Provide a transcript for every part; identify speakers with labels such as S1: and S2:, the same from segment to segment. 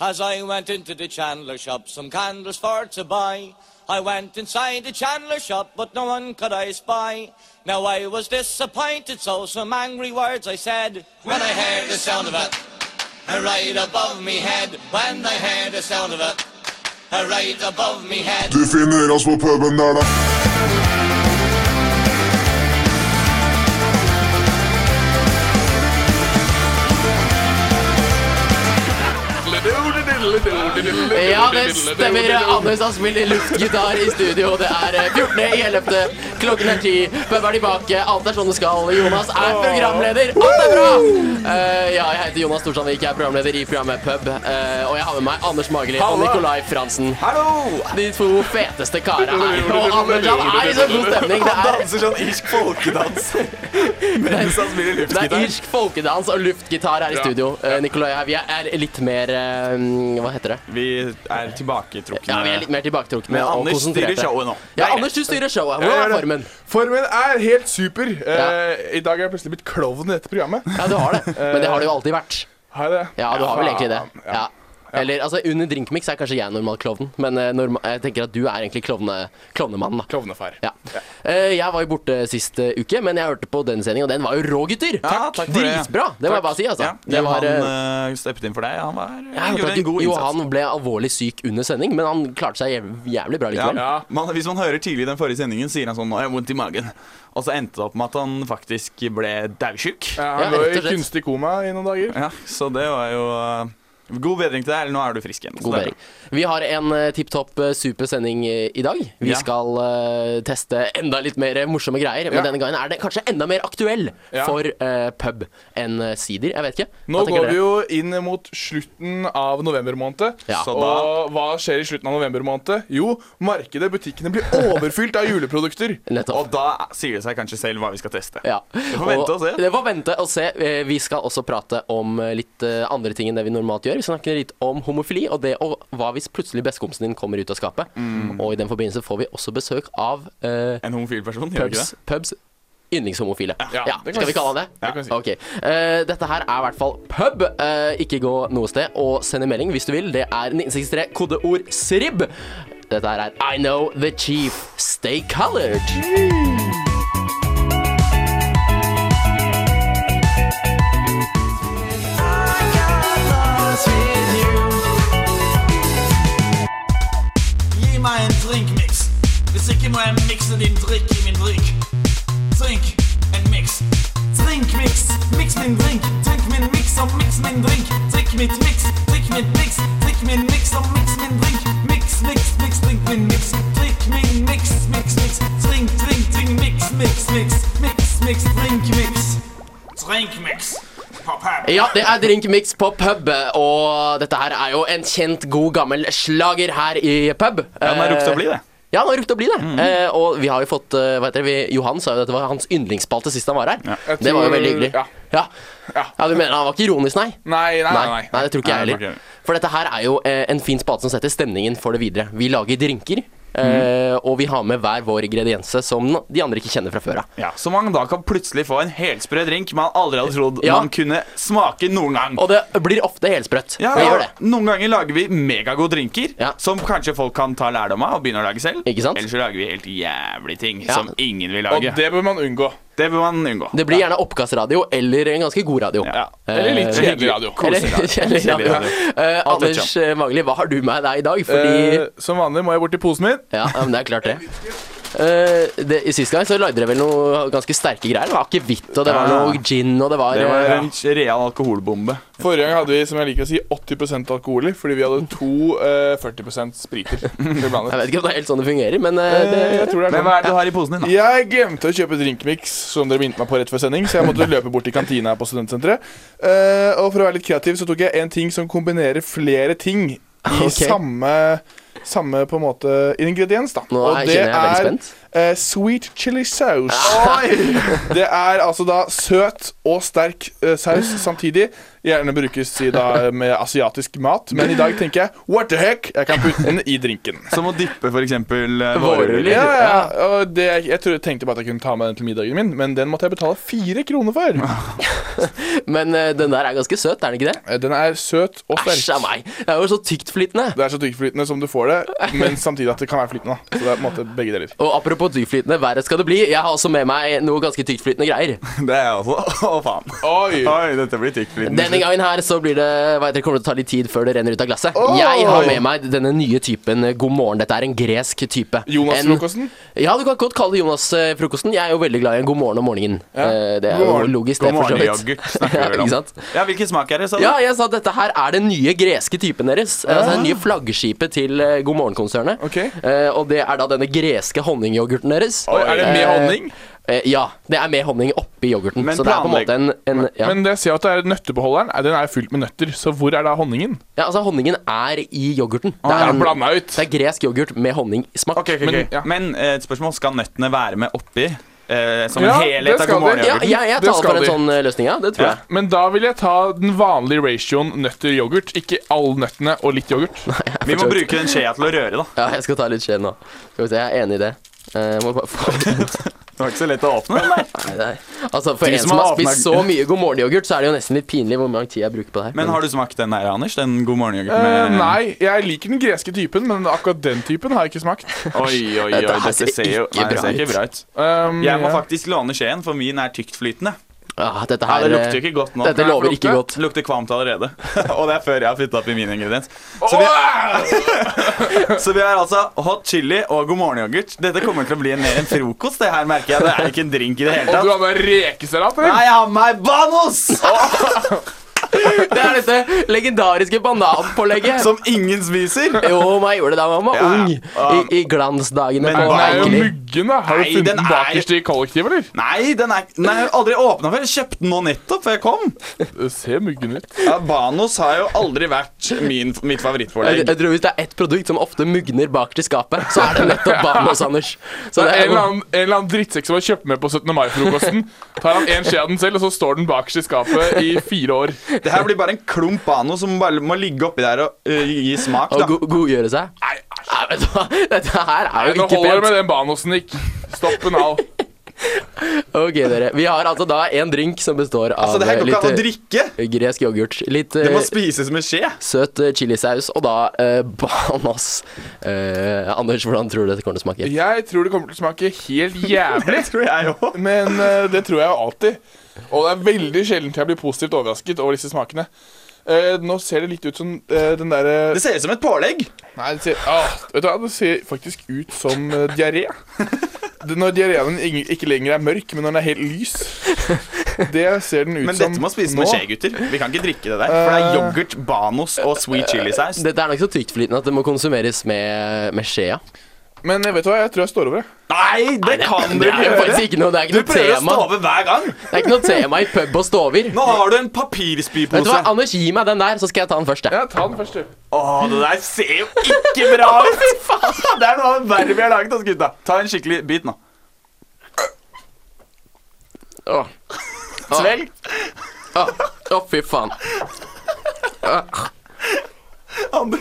S1: As I went into the chandler shop, some candles for to buy. I went inside the chandler shop, but no one could I spy. Now I was disappointed, so some angry words I said. When I heard the sound of it, right above me head. When I heard the sound of it, right above me head.
S2: Du finner oss på puben der, da.
S3: Ja, det stemmer. Anders Aspmild luftgitar i studio. Det er eh, 14.11. Klokken er 10. Pub er tilbake. Alt er sånn det skal. Jonas er programleder. Alt er bra! Eh, ja, jeg heter Jonas Storstadvik. Jeg er programleder i programmet Pub. eh, og jeg har med meg Anders Mageli og Nicolai Fransen.
S4: Hallo!
S3: De to feteste karene her. Og Anders han er i så god stemning. Det er
S4: Danser sånn irsk folkedans mens han spiller
S3: det er
S4: luftgitar.
S3: irsk folkedans og luftgitar her i
S5: Ja.
S3: studio. Eh, Nicolai og jeg, vi er litt mer eh, Hva heter det?
S4: Vi er tilbaketrukne.
S3: Ja, vi er litt mer tilbaketrukne
S4: Eh, Men
S3: og
S4: Anders styrer
S3: konsentrerte.
S4: showet nå.
S3: Ja, Anders, du styrer showet.
S5: Jeg
S3: Hvordan
S5: gjør
S3: er
S5: det.
S3: formen?
S5: Formen er helt super. Eh,
S3: Ja.
S5: I dag er jeg plutselig blitt klovn i dette programmet. Eh,
S3: Ja, du har det. Men det har det jo alltid vært.
S5: Har jeg det?
S3: Ja, du har vel egentlig det.
S5: faen,
S3: Ja. Eller altså, under drinkmix er kanskje jeg normal klovnen, men eh, norma jeg tenker at du er egentlig klovne klovnemannen, da.
S5: Klovnefar.
S3: Ja. Eh, jeg var jo borte sist eh, uke, men jeg hørte på den sendingen, og den var jo rå, gutter!
S4: Ja, takk for det.
S3: Dritbra! Det må jeg bare si, altså.
S4: Ja,
S3: det var, eh,
S4: han eh, steppet inn for deg. Han var, eh,
S3: jeg hørte
S4: gjorde
S3: at
S4: en god
S3: jo,
S4: innsats.
S3: han ble alvorlig syk under sending, men han klarte seg jæv- jævlig bra
S4: Ja.
S3: likevel.
S5: Ja.
S4: Man, hvis man hører tidlig i den forrige sendingen, sier han sånn 'Nå har jeg vondt i magen'. Og så endte det opp med at han faktisk ble dausjuk.
S5: Ja,
S3: Ja,
S5: Eh, han lå
S3: rett
S5: i
S3: og slett.
S5: kunstig koma i noen dager.
S4: Ja, så det var jo eh, God bedring til deg. Eller nå er du frisk igjen. så
S3: God
S4: det er
S3: bedring. Vi har en uh, tipp topp eh, super sending eh, i dag. Vi
S4: Ja.
S3: skal eh, teste enda litt mer eh, morsomme greier. Men
S5: Ja.
S3: denne gangen er det kanskje enda mer aktuell
S5: Ja.
S3: for eh, pub enn eh, sider. Jeg vet ikke.
S5: Nå går vi jo inn mot slutten av november måned.
S3: Ja.
S4: Så da-
S5: Og hva skjer i slutten av november måned? Jo, markedet, butikkene blir overfylt av juleprodukter.
S4: bra.
S3: Nettopp.
S4: Og da sier det seg kanskje selv hva vi skal teste.
S3: Ja.
S4: Vi får vente og se.
S3: Det får vente og se. Eh, Vi skal også prate om eh, litt eh, andre ting enn det vi normalt gjør. Vi skal snakke litt om homofili, og det og hva hvis plutselig bestekompisen din kommer ut av skapet.
S4: Mm.
S3: Og i den forbindelse får vi også besøk av eh,
S4: En homofil person, gjør vi ikke
S3: Pubs,
S4: det?
S3: pubs yndlingshomofile. Ja,
S5: det kan
S3: Skal vi
S5: vi-
S3: kalle han det?
S5: det kan vi si.
S3: Ok. Eh, dette her er i hvert fall pub. Eh, ikke gå noe sted. Og send en melding hvis du vil. Det er 1963, kodeord SRIB. Dette her er I Know The Chief. Stay colored.
S6: Gi meg en drinkmix. Hvis ikke må jeg mikse din drikk i min drikk. Drink en mix. Drinkmix, mix min drink. Drikk min mix og mix min drink. Drikk mitt mix, drikk mitt mix. Drikk min mix og mix min drink. Mix, mix, mix, drikk min mix. Drikk min mix, mix, mix. Drink, drink, drink, mix, mix, mix. Mix, mix, drink, mix. Drinkmix. Pop her.
S3: Ja, det er drinkmix på pub, og dette her er jo en kjent, god, gammel slager her i pub.
S4: Ja, den har rukket å bli det.
S3: Ja, han har rukket å bli det.
S4: Mhm.
S3: Eh, og vi har jo fått eh, Hva heter det? Vi, Johan sa jo dette var hans yndlingsspalte sist han var her.
S5: Jeg
S3: Det var jo
S5: tror-
S3: veldig hyggelig.
S5: ja.
S3: Ja. ja. du mener han var ikke ironisk, nei?
S5: Nei, nei, nei. nei.
S3: det tror ikke
S4: Nei,
S3: jeg
S4: det tror ikke jeg.
S3: heller. For dette her er jo eh, en fin spalte som setter stemningen for det videre. Vi lager drinker,
S4: Mhm.
S3: eh, og vi har med hver vår ingrediense som no- de andre ikke kjenner fra før av.
S4: Ja, Så man da kan plutselig få en helsprø drink man aldri hadde trodd
S3: Eh, Ja.
S4: man kunne smake noen gang.
S3: Og det blir ofte helsprøtt.
S4: Ja,
S3: det
S4: ja,
S3: gjør det.
S4: Noen ganger lager vi megagode drinker
S3: Ja.
S4: som kanskje folk kan ta lærdom av og begynne å lage selv.
S3: Ikke sant?
S4: Eller så lager vi helt jævlig ting
S3: Ja.
S4: som ingen vil
S5: Og
S4: lage. Det,
S5: det bør man unngå.
S4: bør man unngå.
S3: Det blir gjerne oppkastradio eller en ganske god radio.
S4: Ja.
S5: Eller litt
S3: Eh,
S5: kjedelig radio.
S3: Eller,
S4: Koselig radio.
S3: kjedelig radio. Eh,
S4: Alt er
S3: Anders eh, Magli, hva har du med deg i dag? Fordi
S5: Eh, som vanlig må jeg bort til posen min.
S3: Ja, ja, men det er klart det. Eh, det i Sist gang så lagde dere vel noe ganske sterke greier. Det var akevitt, og det var
S4: Ja.
S3: noe gin, og det var,
S4: Det var
S3: eh,
S4: en real alkoholbombe.
S5: Forrige gang hadde vi som jeg liker å si, 80 alkoholer, fordi vi hadde to eh, 40 spriter. Vi
S3: Jeg
S5: blandet.
S3: vet ikke om det er helt sånn det fungerer, men eh, det,
S5: Eh, jeg tror det er
S4: Men
S5: sånn.
S4: hva er det du har i posen din, da?
S5: Jeg glemte å kjøpe drinkmix, som dere minte meg på rett før sending, så jeg måtte løpe bort til kantina her på studentsenteret. Eh, og for å være litt kreativ, så tok jeg en ting som kombinerer flere ting i
S3: Ok.
S5: samme, samme på en måte ingrediens, da.
S3: Nå er- kjenner jeg veldig spent.
S5: eh, sweet chili sauce.
S4: Oi!
S5: Det er altså da søt og sterk eh, saus samtidig Gjerne brukes i da med asiatisk mat, men i dag tenker jeg what the heck? Jeg kan putte den i drinken.
S4: Som å dyppe f.eks.
S3: Vårruller.
S4: eh, vårruller.
S5: Ja, ja, og det, jeg tror, tenkte bare at jeg kunne ta med den til middagen min, men den måtte jeg betale fire kroner for.
S3: Men eh, den der er ganske søt, er den ikke det?
S5: Eh, Den er søt og sterk.
S3: Æsj a meg. Det er jo så tyktflytende.
S5: Det er så tykkflytende som du får det, men samtidig at det kan være flytende. da. Så det er på en måte begge deler.
S3: Og apropos tyktflytende, verre skal det bli. Jeg har også med meg noe ganske tyktflytende greier.
S4: Det er jeg også. Å, faen.
S5: Oi.
S4: Oi, dette blir tykkflytende.
S3: Denne gangen her så blir det, vet dere, kommer det til å ta litt tid før det renner ut av glasset. Jeg har med meg denne nye typen eh, God morgen. Dette er en gresk type.
S5: Jonas-frokosten?
S3: En- Ja, du kan godt kalle det Jonas-frokosten. Jeg er jo veldig glad i en god morgen om morgenen. Eh, Det er
S5: God
S3: jo
S5: morgen.
S3: logisk, det,
S4: God
S3: for så
S4: morgen,
S3: vidt.
S4: yoghurt. snakker vi vel om.
S3: Ikke sant?
S4: Ja, hvilken smak er det? Sa du?
S3: Ja, jeg sa at dette her er den nye greske typen deres. Eh, Altså Den nye flaggskipet til eh, God morgen-konsernet.
S5: Ah. Ok.
S3: Eh, og det er da denne greske honningyoghurten deres.
S5: Oi, er det med honning?
S3: Eh, ja. Det er med honning oppi yoghurten.
S4: Men
S3: så det er på en
S4: planlegg-
S3: måte en, en ja.
S5: Men det jeg ser jo at det er nøttebeholderen eh, Den er fylt med nøtter, så hvor er da honningen?
S3: ja, altså honningen er i yoghurten. Det
S5: Jeg
S3: er,
S5: har
S3: en,
S5: blanda Ah, ut.
S3: det er gresk yoghurt med honningsmak.
S4: Ok, ok, ok.
S5: Men- ja.
S4: Men eh, et spørsmål. Skal nøttene være med oppi eh, som
S5: Ja,
S4: en
S5: det
S4: helhet av
S5: skal de.
S4: God morgen
S3: Ja,
S4: yoghurt?
S3: jeg, jeg
S5: Det
S3: taler
S5: skal
S3: for en
S5: de.
S3: sånn eh, løsning, ja. Det tror
S4: Ja.
S3: jeg.
S5: Men da vil jeg ta den vanlige ratioen nøtter-yoghurt. Ikke all nøttene og litt yoghurt.
S4: Vi må bruke den skjea til å røre, da.
S3: Ja, jeg skal ta litt skje nå. Skal vi se, jeg er enig i det. Eh, må bare få
S4: Det var ikke så lett å åpne den der.
S3: Nei. Altså, For
S4: De
S3: en
S4: som
S3: som har
S4: har
S3: spist så
S4: oppmerk-
S3: mye God morgen-yoghurt, så er det jo nesten litt pinlig hvor mye tid jeg bruker på det her.
S4: Men har du smakt den der, Anders? Den God morgen yoghurt
S5: Eh,
S4: med
S5: nei, jeg liker den greske typen, men akkurat den typen har jeg ikke smakt.
S4: Oi, oi, oi.
S3: Dette her
S4: Dette
S3: ser
S4: ser jo
S3: ikke
S4: Nei, det
S3: bra
S4: ser
S3: ut.
S4: ikke bra ut.
S5: Um,
S4: Jeg må
S5: ja.
S4: faktisk låne skjeen, for min er tyktflytende.
S3: ah, dette
S4: Ja,
S3: her
S4: det lukter
S3: eh,
S4: jo ikke godt nå.
S3: Dette
S4: Nei,
S3: lover ikke
S4: lukter-
S3: godt.
S4: Lukter kvalmt allerede. og det er før jeg har putta oppi min ingrediens. Så vi, så vi har altså hot chili og god morgen-yoghurt. Dette kommer til å bli en- mer en frokost, det her merker jeg. Det er ikke en drink i det hele
S5: Og du
S4: tatt.
S5: har med rekesalat, eller?
S4: Nei, jeg har med meg banos!
S3: Det er dette legendariske bananpålegget.
S4: Som ingen spiser.
S3: Jo, man gjorde det da man var
S4: Ja, ja.
S3: ung. I, i glansdagene
S4: Men
S3: på
S5: Den er jo
S3: Eikeli.
S5: muggen, da. Har du
S4: Nei,
S5: funnet
S4: den
S5: den
S4: er-
S5: bakerst i kollektivet, eller?
S4: Nei, den er, den er jo aldri åpna før. Jeg kjøpte den nå nettopp før jeg kom.
S5: Det ser muggen ut.
S4: Ja, banos har jo aldri vært min, mitt
S3: Jeg,
S4: favorittpålegg.
S3: jeg tror Hvis det er ett produkt som ofte mugner bak til skapet, så er det nettopp Banos, Anders. Så
S5: En
S3: det er
S5: eller
S3: jo
S5: annen, en eller annen drittsekk som har kjøpt med på 17. mai-frokosten. Tar han en skje av den selv, og så står den bakerst i skapet i fire år.
S4: Det her blir bare en klump banos som bare må ligge oppi der og øh, gi smak,
S3: å
S4: da.
S3: go godgjøre seg. Nei, vet du hva. Dette her er jo
S5: Nå
S3: ikke
S5: holder det
S3: pent.
S5: med den banosen, Nick. Stopp en hal.
S3: Ok, dere. Vi har altså da en drink som består av
S4: Så Altså, det her går
S3: litt
S4: ikke an å
S3: eh,
S4: drikke.
S3: gresk yoghurt, litt
S4: Det må
S3: eh,
S4: spises med skje.
S3: søt eh, chilisaus og da eh, banas. Eh, Anders, hvordan tror du dette kommer til å smake?
S5: Jeg tror det kommer til å smake helt jævlig.
S4: Det tror jeg òg.
S5: Men eh, det tror jeg jo alltid. Og det er veldig sjelden jeg blir positivt overrasket over disse smakene. Eh, nå ser det litt ut som eh, den derre
S4: Det ser ut som et pålegg.
S5: Nei, det ser, ah, vet du hva, det ser faktisk ut som eh, diaré. Det- Når diareen ing- ikke lenger er mørk, men når den er helt lys. Det ser den ut
S4: Men
S5: som
S4: dette må spises
S5: nå.
S4: med skje, gutter. Vi kan ikke drikke det der. For det
S3: Eh.
S4: er yoghurt, banos og sweet chili-saus.
S3: Dette er nok så tyktflytende at det må konsumeres med, med skjea.
S5: Men eh, vet du hva, jeg tror jeg står over det.
S4: Nei, det kan du
S3: Det
S4: ikke
S3: er jo
S4: gjøre!
S3: faktisk ikke noe, det er
S4: Du
S3: ikke noe
S4: prøver å
S3: tema.
S4: stave hver gang.
S3: Det er ikke noe tema i pub og stover.
S4: Nå har du en
S3: Vet du hva,
S4: papirspypose.
S3: Anders, gi meg den der, så skal jeg ta den først. jeg.
S5: Ja, ta den først, du.
S4: Å, det der ser jo ikke bra ut! Det er noe av det verre vi har laget oss, gutta. Ta en skikkelig bit nå.
S3: Åh,
S4: Svelg.
S3: åh, åh, fy faen.
S4: Anders.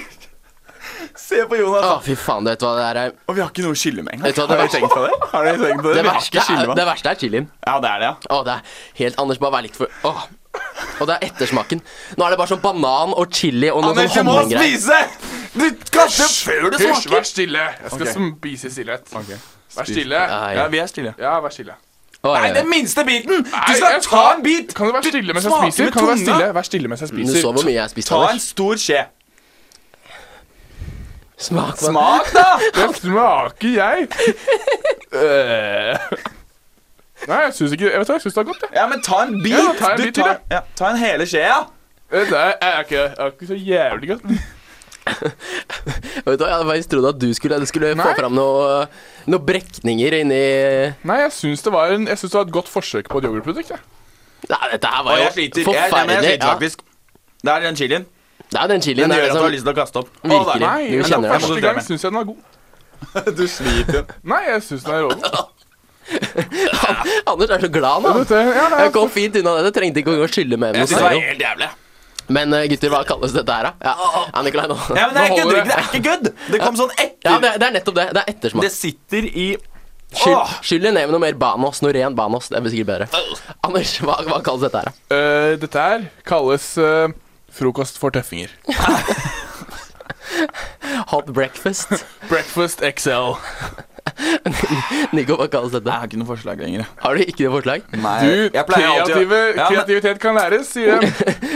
S4: Se på Jonas.
S3: Åh, fy faen, du vet hva det her er.
S4: Og vi har ikke noe å skylle med
S3: Vet du hva
S4: engang.
S3: det
S4: Har du
S3: verste-
S4: tenkt på det? Har du tenkt på det?
S3: Det
S4: Vi har
S3: verste
S4: ikke
S3: er,
S4: skylle
S3: det
S4: med.
S3: verste er chilien.
S4: Ja, det er det, ja.
S3: Åh, det er helt Anders, bare vær litt for Åh. Og det er ettersmaken. Nå er det bare sånn banan og chili og noe
S4: Anders, du
S3: sånn
S4: må
S3: honninggreier.
S4: spise! Du kaster før det
S5: Hysj,
S4: smaker.
S5: vær stille. Jeg skal spise i stillhet. Vær stille.
S3: Nei.
S4: Ja, vi er stille.
S5: Ja, vær stille.
S3: Åh,
S4: Nei,
S3: ja, ja.
S4: den minste biten! Du
S5: Nei,
S4: skal
S5: jeg
S4: ta en bit!
S5: Kan du være stille mens jeg
S4: smaker
S5: spiser?
S4: med
S5: Kan du være
S4: tunga.
S5: stille? Vær stille mens jeg
S3: Du så hvor
S5: spiser.
S3: mye jeg spiste,
S4: Ta en
S3: Anders.
S4: stor skje.
S3: Smak på den.
S4: Smak, da!
S5: Det smaker jeg. Eh. Nei, jeg syns ikke jeg vet hva, jeg synes det er godt. Jeg.
S4: Ja, men ta en bit.
S5: Ja, ta en
S4: Du
S5: bit til,
S4: tar- ja, ta en hele skje, ja.
S5: Vet du, jeg Eh, er ikke, jeg er ikke så jævlig godt.
S3: Vet du, hva, Jeg hadde faktisk trodd at du skulle, du skulle få
S5: Nei.
S3: fram noe- noen brekninger inni
S5: Nei, jeg syns det, var en- jeg synes det var et godt forsøk på et yoghurtprodukt. jeg.
S3: Nei, dette her
S4: Og
S3: var jo
S4: jeg sliter. Jeg, jeg, men jeg
S3: forferdelig.
S4: sliter faktisk. Det er den chilien.
S3: Ja, det er den chilien
S4: Den
S3: der
S4: gjør at du
S3: som
S4: har lyst til å kaste opp. Å,
S3: Virkelig.
S4: der.
S5: Nei,
S3: Du
S5: men for
S3: kjenner det.
S5: første gang syns jeg den var god.
S4: Du sliter.
S5: Nei, jeg syns den er rågod.
S3: Anders er så glad nå.
S5: Vet du, Ja, nei, altså.
S3: Jeg kom fint unna det. Det trengte ikke å gå og skylle med
S4: Jeg
S3: noe
S4: synes det var
S3: zero.
S4: helt jævlig.
S3: Men eh, gutter, hva kalles dette her, da? Ja, ja Nikolai, nå.
S4: Ja, men
S5: Nå
S4: det er ikke,
S5: holder
S4: good, det er ikke good! Det kom sånn
S3: Ja,
S4: etter.
S3: det, det er nettopp det. Det er ettersmak.
S4: Det sitter i
S3: Skyll,
S4: Åh!
S3: skyll det ned med noe mer Banos. Noe ren Banos. Det blir sikkert bedre. Anders, hva, hva kalles dette her, da?
S5: Eh, dette her kalles eh, frokost for tøffinger.
S3: Hot breakfast.
S5: Breakfast XL.
S3: Nico, hva kalles
S4: Jeg
S3: dette?
S4: har ikke noe forslag lenger. jeg.
S3: Har du ikke noe forslag?
S4: Nei,
S5: Du,
S4: Eh, jeg pleier alltid å-
S5: kreative,
S4: Ja, men-
S5: kreativitet kan læres, sier jeg.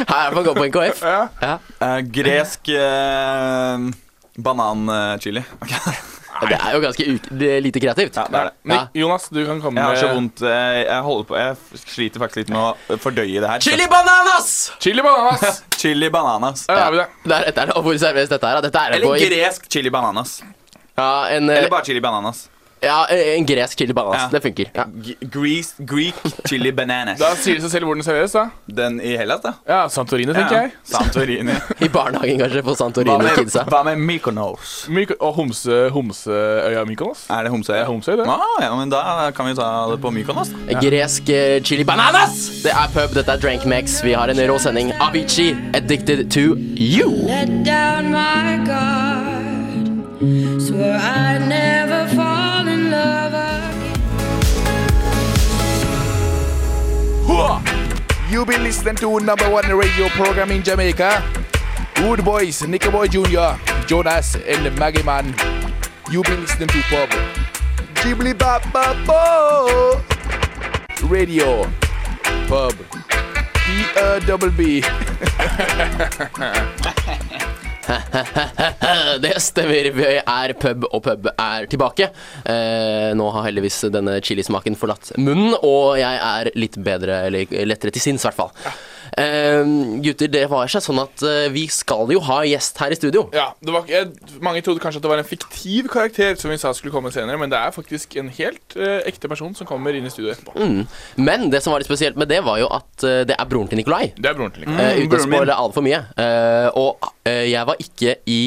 S3: Her er det man går på NKF.
S5: Ja.
S3: Ja.
S4: Eh, gresk eh, bananchili. Ok,
S3: Det er jo ganske uk det er lite kreativt.
S4: Ja, det er det.
S5: Nick, Jonas, du kan komme
S4: Jeg har så
S5: med
S4: vondt eh, Jeg holder på Jeg f- sliter faktisk litt med å fordøye det her.
S3: Chili bananas!
S5: chili bananas.
S4: Chili bananas.
S5: Der har vi det.
S3: Der, dette er, det. og hvor serveres dette her? da? Dette er det på
S4: Eller
S3: i-
S4: gresk chili bananas.
S3: ja, en, eh,
S4: Eller bare chili bananas.
S3: ja, en gresk chili bananas.
S4: Ja.
S3: Det funker. Ja.
S4: G- Greece, Greek chili bananas.
S5: Da sier det seg selv hvor den serveres, da.
S4: Den i Hellas, da.
S5: Ja, Santorini, tenker jeg.
S4: Santorini.
S3: I barnehagen, kanskje, for Santorini-kidsa.
S4: hva med Mykonos?
S5: Myk og homse, homseøya Mykonos.
S4: Er det Homsøya?
S5: Det er Homsøy, det.
S4: Ah, ja, men da kan vi ta det på Mykonos. da.
S3: Gresk eh, chili bananas! Det er pub, dette er Drank Max. Vi har en rå sending. Avicii, Addicted to You.
S7: let down my guard. Swear I'd never fall in love again.
S5: You been listening to number one radio program in Jamaica. Good boys, Nicky Boy Jr., Jonas and Maggie Man. You been listening to pub. Ghibli Bop Bop Bo. Radio. Pub. B-A-double-B.
S3: Eh, Det stemmer. Vi er pub, og pub er tilbake. Eh, nå har heldigvis denne chilismaken forlatt munnen, og jeg er litt bedre, eller lettere til sinns, i hvert fall. Eh, gutter, det var seg sånn at eh, vi skal jo ha gjest her i studio.
S5: Ja, det var, jeg, mange trodde kanskje at det var en fiktiv karakter som vi sa skulle komme senere, men det er faktisk en helt eh, ekte person som kommer inn i studio etterpå.
S3: Mm. Men det som var litt spesielt med det, var jo at eh, det er broren til Nikolai.
S5: Det er broren til Nicky.
S3: Eh, uten å
S4: Mm, broren min.
S3: spoile altfor mye. Eh, og eh, jeg var ikke i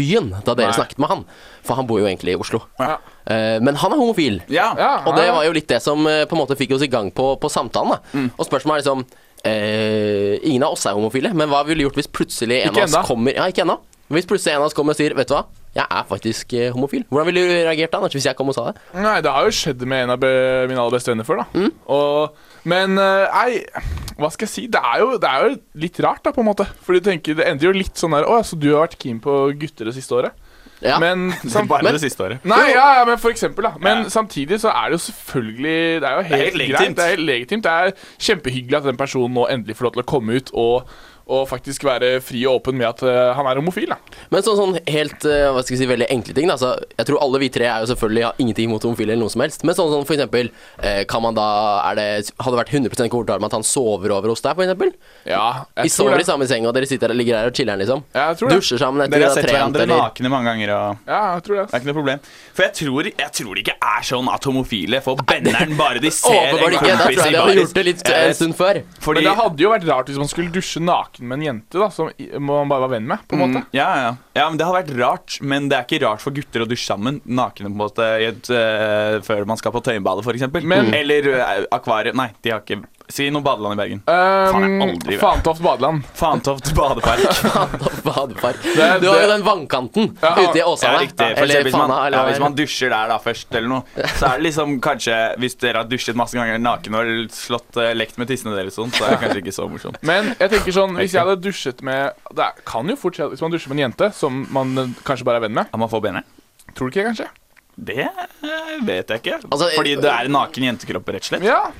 S3: byen da dere
S5: Nei.
S3: snakket med han, for han bor jo egentlig i Oslo.
S5: Ja.
S3: Eh, men han er homofil.
S4: Ja.
S5: Ja,
S3: Og det var jo litt det som eh, på en måte fikk oss i gang på, på samtalen. da Og spørsmålet er liksom eh, Ingen av oss er homofile, men hva ville du gjort hvis plutselig en
S5: Ikke
S3: av
S5: enda.
S3: oss kommer Ja, ikke ennå. Hvis plutselig en av oss kommer og sier Vet du hva, jeg er faktisk eh, homofil. Hvordan ville du reagert da, Anders, hvis jeg kom og sa det?
S5: Nei, det har jo skjedd med en av be, mine aller beste venner før, da. Og, men eh, nei, hva skal jeg si? Det er, jo, det er jo litt rart, da, på en måte. For du tenker, det endrer jo litt sånn der Å ja, så du har vært keen på gutter det siste året?
S3: Ja.
S5: Men sam-
S4: Bare
S3: Men-
S4: det siste året.
S5: Nei, ja, ja, men for eksempel, da. Men samtidig så er det jo selvfølgelig Det er jo helt,
S4: helt legitimt.
S5: greit. Det er helt legitimt. Det er kjempehyggelig at den personen nå endelig får lov til å komme ut og, og faktisk være fri og åpen med at eh, han er homofil, da.
S3: Men sånn, sånn helt eh, hva skal jeg si, veldig enkle ting. Da. Så jeg tror alle vi tre er jo selvfølgelig har ingenting imot homofile eller noe som helst. Men sånn, sånn for eksempel, eh, kan man da er det, Har det vært 100 komfortabelt med at han sover over hos deg, for eksempel?
S5: Ja,
S3: Vi sover i samme seng, og dere sitter og ligger her og chiller'n, liksom.
S5: Ja, jeg tror det.
S3: Dusjer sammen etter
S4: Dere
S3: å
S4: har
S3: ha
S4: sett
S3: trent,
S4: hverandre
S3: eller
S4: nakne mange ganger. og...
S5: Ja, jeg tror
S4: Det
S5: det. altså.
S4: er ikke noe problem. For jeg tror, jeg tror det ikke er sånn at homofile får benneren bare de ser en
S3: Åpenbart ikke. Da tror
S4: kompis i
S3: jeg de hadde gjort det
S4: baris.
S3: litt eh, en stund før.
S4: Fordi,
S5: Men det hadde jo vært rart hvis man skulle dusje naken med en jente da som i- man bare var venn med. på en måte
S4: ja, ja. ja, men Det hadde vært rart, men det er ikke rart for gutter å dusje sammen nakne på en måte i et, eh, før man skal på Tøyenbadet, f.eks.
S5: Men-
S4: Eller eh, akvariet. Nei, de har ikke Si noe badeland i Bergen. Faen, jeg har
S5: Um,
S4: aldri vært-
S5: Fantoft badeland.
S4: Fantoft badepark.
S3: Badepark.
S5: er-
S3: Du har jo
S5: det-
S3: den vannkanten
S5: Ja,
S3: ute i
S4: Ja,
S3: Åsane.
S4: riktig. For
S3: eller
S4: eksempel, hvis, man,
S3: Fana, eller
S4: ja,
S3: hva
S4: hvis
S3: det er.
S4: man dusjer der da først, eller noe, så er det liksom kanskje Hvis dere har dusjet masse ganger naken og slått eh, lekt med tissene deres, sånn, så er det kanskje ikke så morsomt.
S5: Men jeg tenker sånn, hvis jeg hadde dusjet med Det er- kan jo fort skje at hvis man dusjer med en jente som man eh, kanskje bare er venn med.
S4: Kan man få benneren?
S5: Tror du ikke, kanskje?
S4: Det eh, vet jeg ikke.
S3: Altså,
S4: Fordi det er en naken jentekropp, rett og slett.
S5: Ja.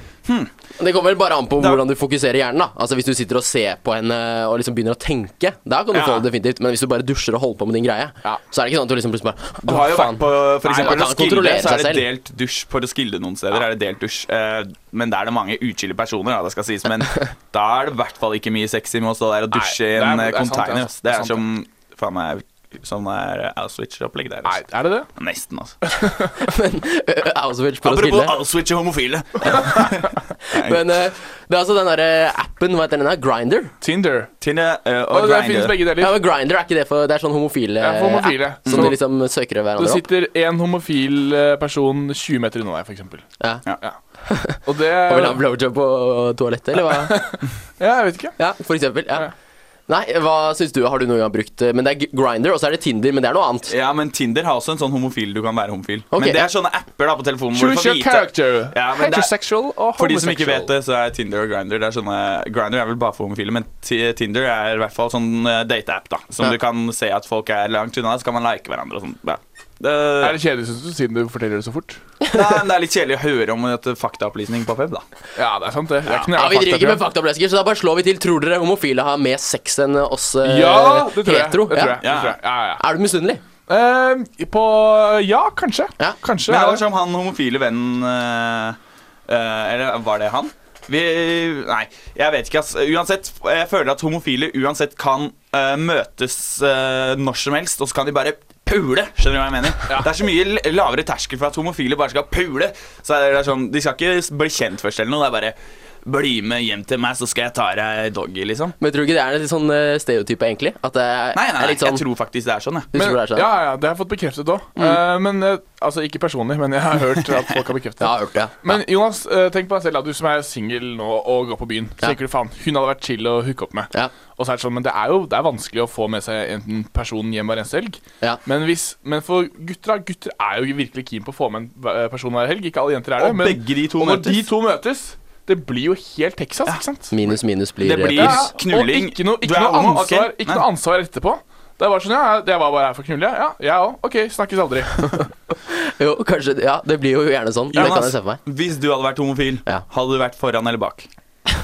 S3: Det kommer vel bare an på
S4: Da-
S3: hvordan du fokuserer hjernen. da Altså Hvis du sitter og ser på henne og liksom begynner å tenke, da kan du
S4: Ja.
S3: få det definitivt. Men hvis du bare dusjer og holder på med din greie,
S5: Ja.
S3: så er det ikke sånn at du liksom plutselig bare
S4: Du
S3: Å,
S4: har jo
S3: faen.
S4: vært på for
S3: Nei,
S4: eksempel,
S3: man kan
S4: Roskilde,
S3: kontrollere
S4: så er
S3: seg
S4: det
S3: selv.
S4: delt dusj på Roskilde noen steder. er det delt dusj eh, Men der er det mange uchille personer, da, det skal sies. Men da er det i hvert fall ikke mye sexy med å stå der og dusje
S5: Nei,
S4: i
S5: det er-
S4: en eh,
S5: det er sant, det
S4: container.
S5: er
S4: ass. Det er
S5: sant, det er
S4: som faen meg Sånn er eh, Auschwitz-opplegg der.
S5: Nei,
S4: ass.
S5: er det det?
S4: Nesten, altså.
S3: Øh, Auschwitz på
S4: Apropos
S3: Roskilde.
S4: Auschwitz og homofile.
S3: Men eh, det er altså den derre appen, hva heter den der? Grinder?
S5: Tinder.
S4: Tinder eh,
S5: Og
S4: og
S5: det finnes
S4: Grindr.
S5: begge deler.
S3: Ja, men Grinder er ikke det for Det er sånn homofile
S5: Ja, for homofile.
S3: app som
S5: Så-
S3: de liksom søker
S5: Det
S3: hverandre opp.
S5: sitter en homofil eh, person 20 meter unna deg, for eksempel
S3: Ja.
S5: Ja. Og det
S3: Og vil ha blowjob på toalettet, eller hva?
S5: Ja, jeg vet ikke.
S3: Ja, for eksempel. Ja. Nei, hva syns du? Har du noen gang brukt eh, Men det er Grinder, og så er det Tinder, men det er noe annet.
S4: Ja, men Tinder har også en sånn homofil. Du kan være homofil.
S3: Ok.
S4: Men det er sånne apper da på telefonen. hvor du
S5: Choose
S4: får
S5: your
S4: vite-
S5: character.
S4: Ja, men det er-
S5: Heterosexual or homosexual.
S4: For de som ikke vet det, så er Tinder og Grindr det er sånne, Grindr er vel bare for homofile, men Ti- Tinder er i hvert fall sånn eh, date-app, da. Som
S3: Ja.
S4: du kan se at folk er langt unna, så kan man like hverandre og sånn. Ja. Det,
S5: Er det kjedelig, synes du, siden du forteller det så fort?
S4: nei, men det er litt kjedelig å høre om et faktaopplysning på pub, da.
S5: Ja, det er sant, det. Det er knallfakta,
S3: Ja, Vi driver ikke med
S5: tror jeg.
S3: faktablesker, så da bare slår vi til. Tror dere homofile har mer sex enn oss eh,
S5: Ja, det tror jeg.
S3: hetero?
S5: Det tror jeg.
S3: Ja.
S5: Det tror jeg. Ja, ja.
S3: Er du misunnelig?
S5: Ehm, på Ja, kanskje.
S3: Ja.
S5: Kanskje.
S4: Men det
S5: er
S3: sånn
S4: var
S5: det.
S4: som han homofile vennen eh, eh, Eller var det han? Vi, nei, jeg vet ikke, ass. Uansett, jeg føler at homofile uansett kan eh, møtes eh, når som helst, og så kan de bare pule. Skjønner du hva jeg mener? Det er så mye l- lavere terskel for at homofile bare skal pule. Så er det sånn, De skal ikke bli kjent først eller noe. Det er bare bli med hjem til meg, så skal jeg ta deg doggy, liksom.
S3: Men tror du ikke det er en litt sånn eh, stereotype, egentlig? At det er,
S4: Nei, nei,
S3: er
S4: nei,
S3: litt sånn
S4: jeg tror faktisk det er sånn, jeg.
S3: Du
S5: Men,
S3: tror det er Mm. sånn?
S5: ja, ja, det har jeg fått bekreftet òg. men eh, altså ikke personlig, men jeg har hørt at folk har bekreftet
S3: Jeg har
S5: det.
S3: hørt det.
S5: Men Jonas, eh, tenk på deg selv, da. Du som er singel nå og går på byen.
S3: Ja.
S5: Så tenker du faen, hun hadde vært chill å hooke opp med.
S3: Ja.
S5: Og så er det sånn, men det er jo det er vanskelig å få med seg enten personen hjem hver eneste helg.
S3: Ja.
S5: Men, hvis, men for gutter da, gutter er jo virkelig keen på å få med en eh, person hver helg. Ikke alle jenter er det.
S4: Og
S5: men-
S4: begge de to
S5: og når
S4: møtes.
S5: de to møtes, det blir jo helt Texas, ikke sant?
S3: Minus, minus blir
S4: Det blir-
S3: eh,
S4: Ja. knulling.
S5: Og ikke noe,
S4: Du
S5: ikke
S4: er
S5: noe,
S4: homo, ok.
S5: ansvar, ikke
S4: Nei.
S5: noe ansvar etterpå. Det er bare sånn, ja, jeg var bare her for å knulle, ja. Ja, jeg òg. Ok, snakkes aldri.
S3: Jo, kanskje Ja, det blir jo gjerne sånn. det kan jeg se for meg.
S4: hvis du hadde vært homofil,
S3: Ja.
S4: hadde du vært foran eller bak?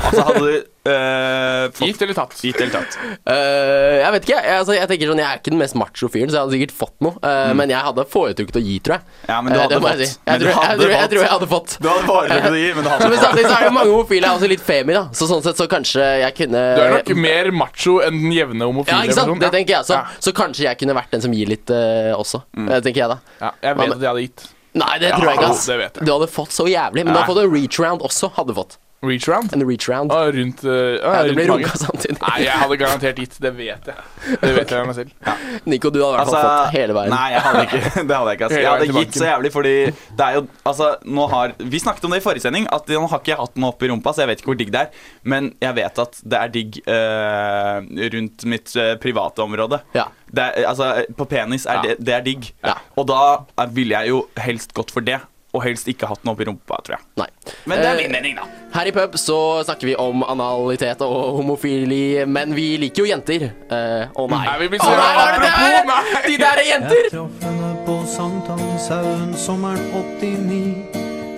S4: Altså hadde du eh, fått
S5: Gift eller tatt?
S4: Gitt eller tatt.
S3: Eh, jeg vet ikke. Jeg, altså, jeg tenker sånn, jeg er ikke den mest macho fyren, så jeg hadde sikkert fått noe. Eh, Men jeg hadde foretrukket å gi, tror jeg.
S4: Mm. Ja, men du
S3: Eh,
S4: hadde
S3: det må
S4: fått.
S3: Jeg, si.
S4: Men
S3: jeg,
S4: du
S3: tror, jeg,
S4: hadde
S3: tror, jeg
S4: fått.
S3: tror jeg hadde fått.
S4: Du hadde foretrukket å gi, men du hadde
S3: Men samtidig så er det mange homofile jeg er også litt femi, da. Så sånn sett så kanskje jeg kunne
S5: Du er nok mer macho enn den jevne homofile
S3: ja, ikke sant?
S4: sånn,
S5: personen,
S3: Det
S5: ja.
S3: tenker jeg også.
S5: Ja.
S3: Så kanskje jeg kunne vært den som gir litt eh, også.
S4: Mm.
S3: Det tenker jeg, da.
S5: Ja, jeg
S3: Hva
S5: vet
S3: med-
S5: at jeg hadde gitt.
S3: Nei, det tror jeg ikke. ass
S5: det vet jeg.
S3: Du hadde fått så jævlig. Men du hadde fått en reach round også. Hadde du fått
S5: Reach round?
S3: En reach round.
S5: Ah, rundt uh,
S3: Ja, det ble
S5: rundt magen.
S3: runka sånn. samtidig.
S5: Nei, jeg hadde garantert gitt. Det vet jeg. Det vet jeg med meg selv.
S3: Nico, du hadde i hvert fall fått hele veien.
S4: Altså, Nei, jeg hadde ikke, det hadde jeg ikke. ass. Jeg
S5: Hele veien
S4: hadde
S5: til
S4: gitt så jævlig, fordi det er jo Altså, nå har Vi snakket om det i forrige sending, at nå har ikke jeg hatt noe oppi rumpa, så jeg vet ikke hvor digg det er. Men jeg vet at det er digg eh, rundt mitt eh, private område.
S3: Ja.
S4: Det er, altså, på penis er det, det er digg.
S3: Ja.
S4: Og da eh, ville jeg jo helst gått for det, og helst ikke hatt noe oppi rumpa, tror jeg.
S3: Nei.
S4: Men det
S3: Eh,
S4: er min mening, da.
S3: Her i pub så snakker vi om analitet og homofili, men vi liker jo jenter. Eh, Å nei.
S5: Nei, vi blir
S3: Å
S5: så-
S3: nei, hva er det der?
S5: Apropos, nei.
S3: De der er jenter!
S8: Traffene på sankthanshaugen sommeren 89.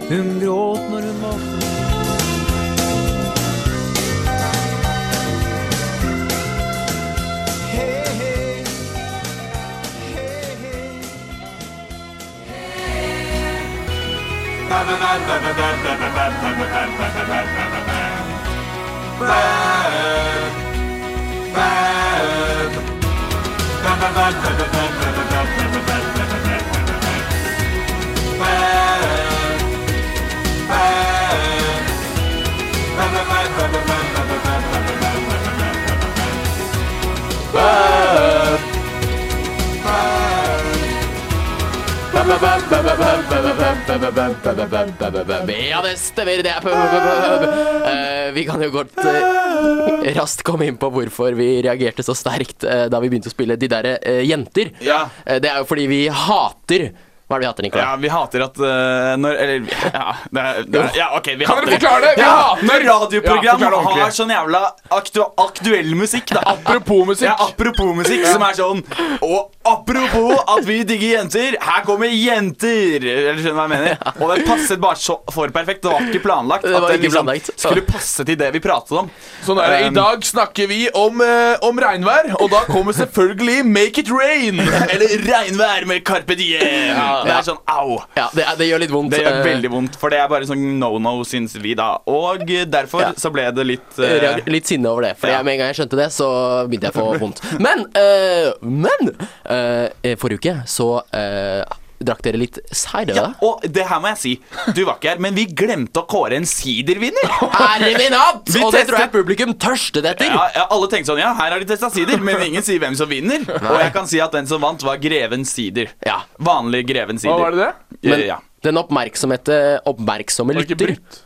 S8: Hun gråt når hun var
S3: Ja, det stemmer. Det er pub. pub, pub, pub. Eh, vi kan jo godt eh, raskt komme inn på hvorfor vi reagerte så sterkt eh, da vi begynte å spille De derre eh, jenter.
S4: Ja.
S3: Eh, det er jo fordi vi hater Hva er det vi hater, Nicolai?
S4: Ja, vi hater at øh, når Eller ja, det, er- det, er- ja, ok, vi
S5: Kan
S4: hater
S5: dere forklare det? Vi
S4: ja,
S5: hater-
S4: Når
S5: Ja,
S4: radioprogram
S5: forklar det ordentlig.
S4: har sånn jævla aktu aktuell musikk, da.
S5: Apropos musikk.
S4: Ja, apropos musikk, som er sånn Og apropos at vi digger jenter, her kommer jenter! Eller skjønner du hva jeg mener? Og det passet bare så for perfekt. Det var ikke planlagt.
S3: Det var
S4: at
S3: ikke planlagt.
S4: skulle passe til det vi pratet om.
S5: Sånn er det. I
S4: Um,
S5: dag snakker vi om, eh, om regnvær, og da kommer selvfølgelig Make it rain.
S4: Eller regnvær med Carpe Diem! det er sånn au.
S3: Ja, det, er- det gjør litt vondt.
S4: Det gjør
S3: eh,
S4: veldig vondt, for det er bare sånn no-no, syns vi, da. Og derfor
S3: Ja.
S4: så ble det litt eh,
S3: reager- litt sinne over det. For
S4: Ja.
S3: med en gang jeg skjønte det, så begynte jeg å få vondt. Men, eh, men eh, Forrige uke så eh, drakk dere litt cider.
S4: Ja,
S3: da.
S4: og det her må jeg si. Du var ikke her, men vi glemte å kåre en sidervinner.
S3: Ære min hatt!
S4: Vi
S3: Og det
S4: testet-
S3: tror jeg publikum tørstet etter.
S4: Ja, ja, alle tenkte sånn, ja, her har de testa sider, men ingen sier hvem som vinner. Og jeg kan si at den som vant, var Greven Sider.
S3: Ja.
S4: Vanlig Greven Sider.
S5: Hva var det det?
S4: Ja,
S3: Men
S4: ja.
S3: den oppmerksomhete, oppmerksomme
S5: Var det ikke
S3: lytter
S5: brutt?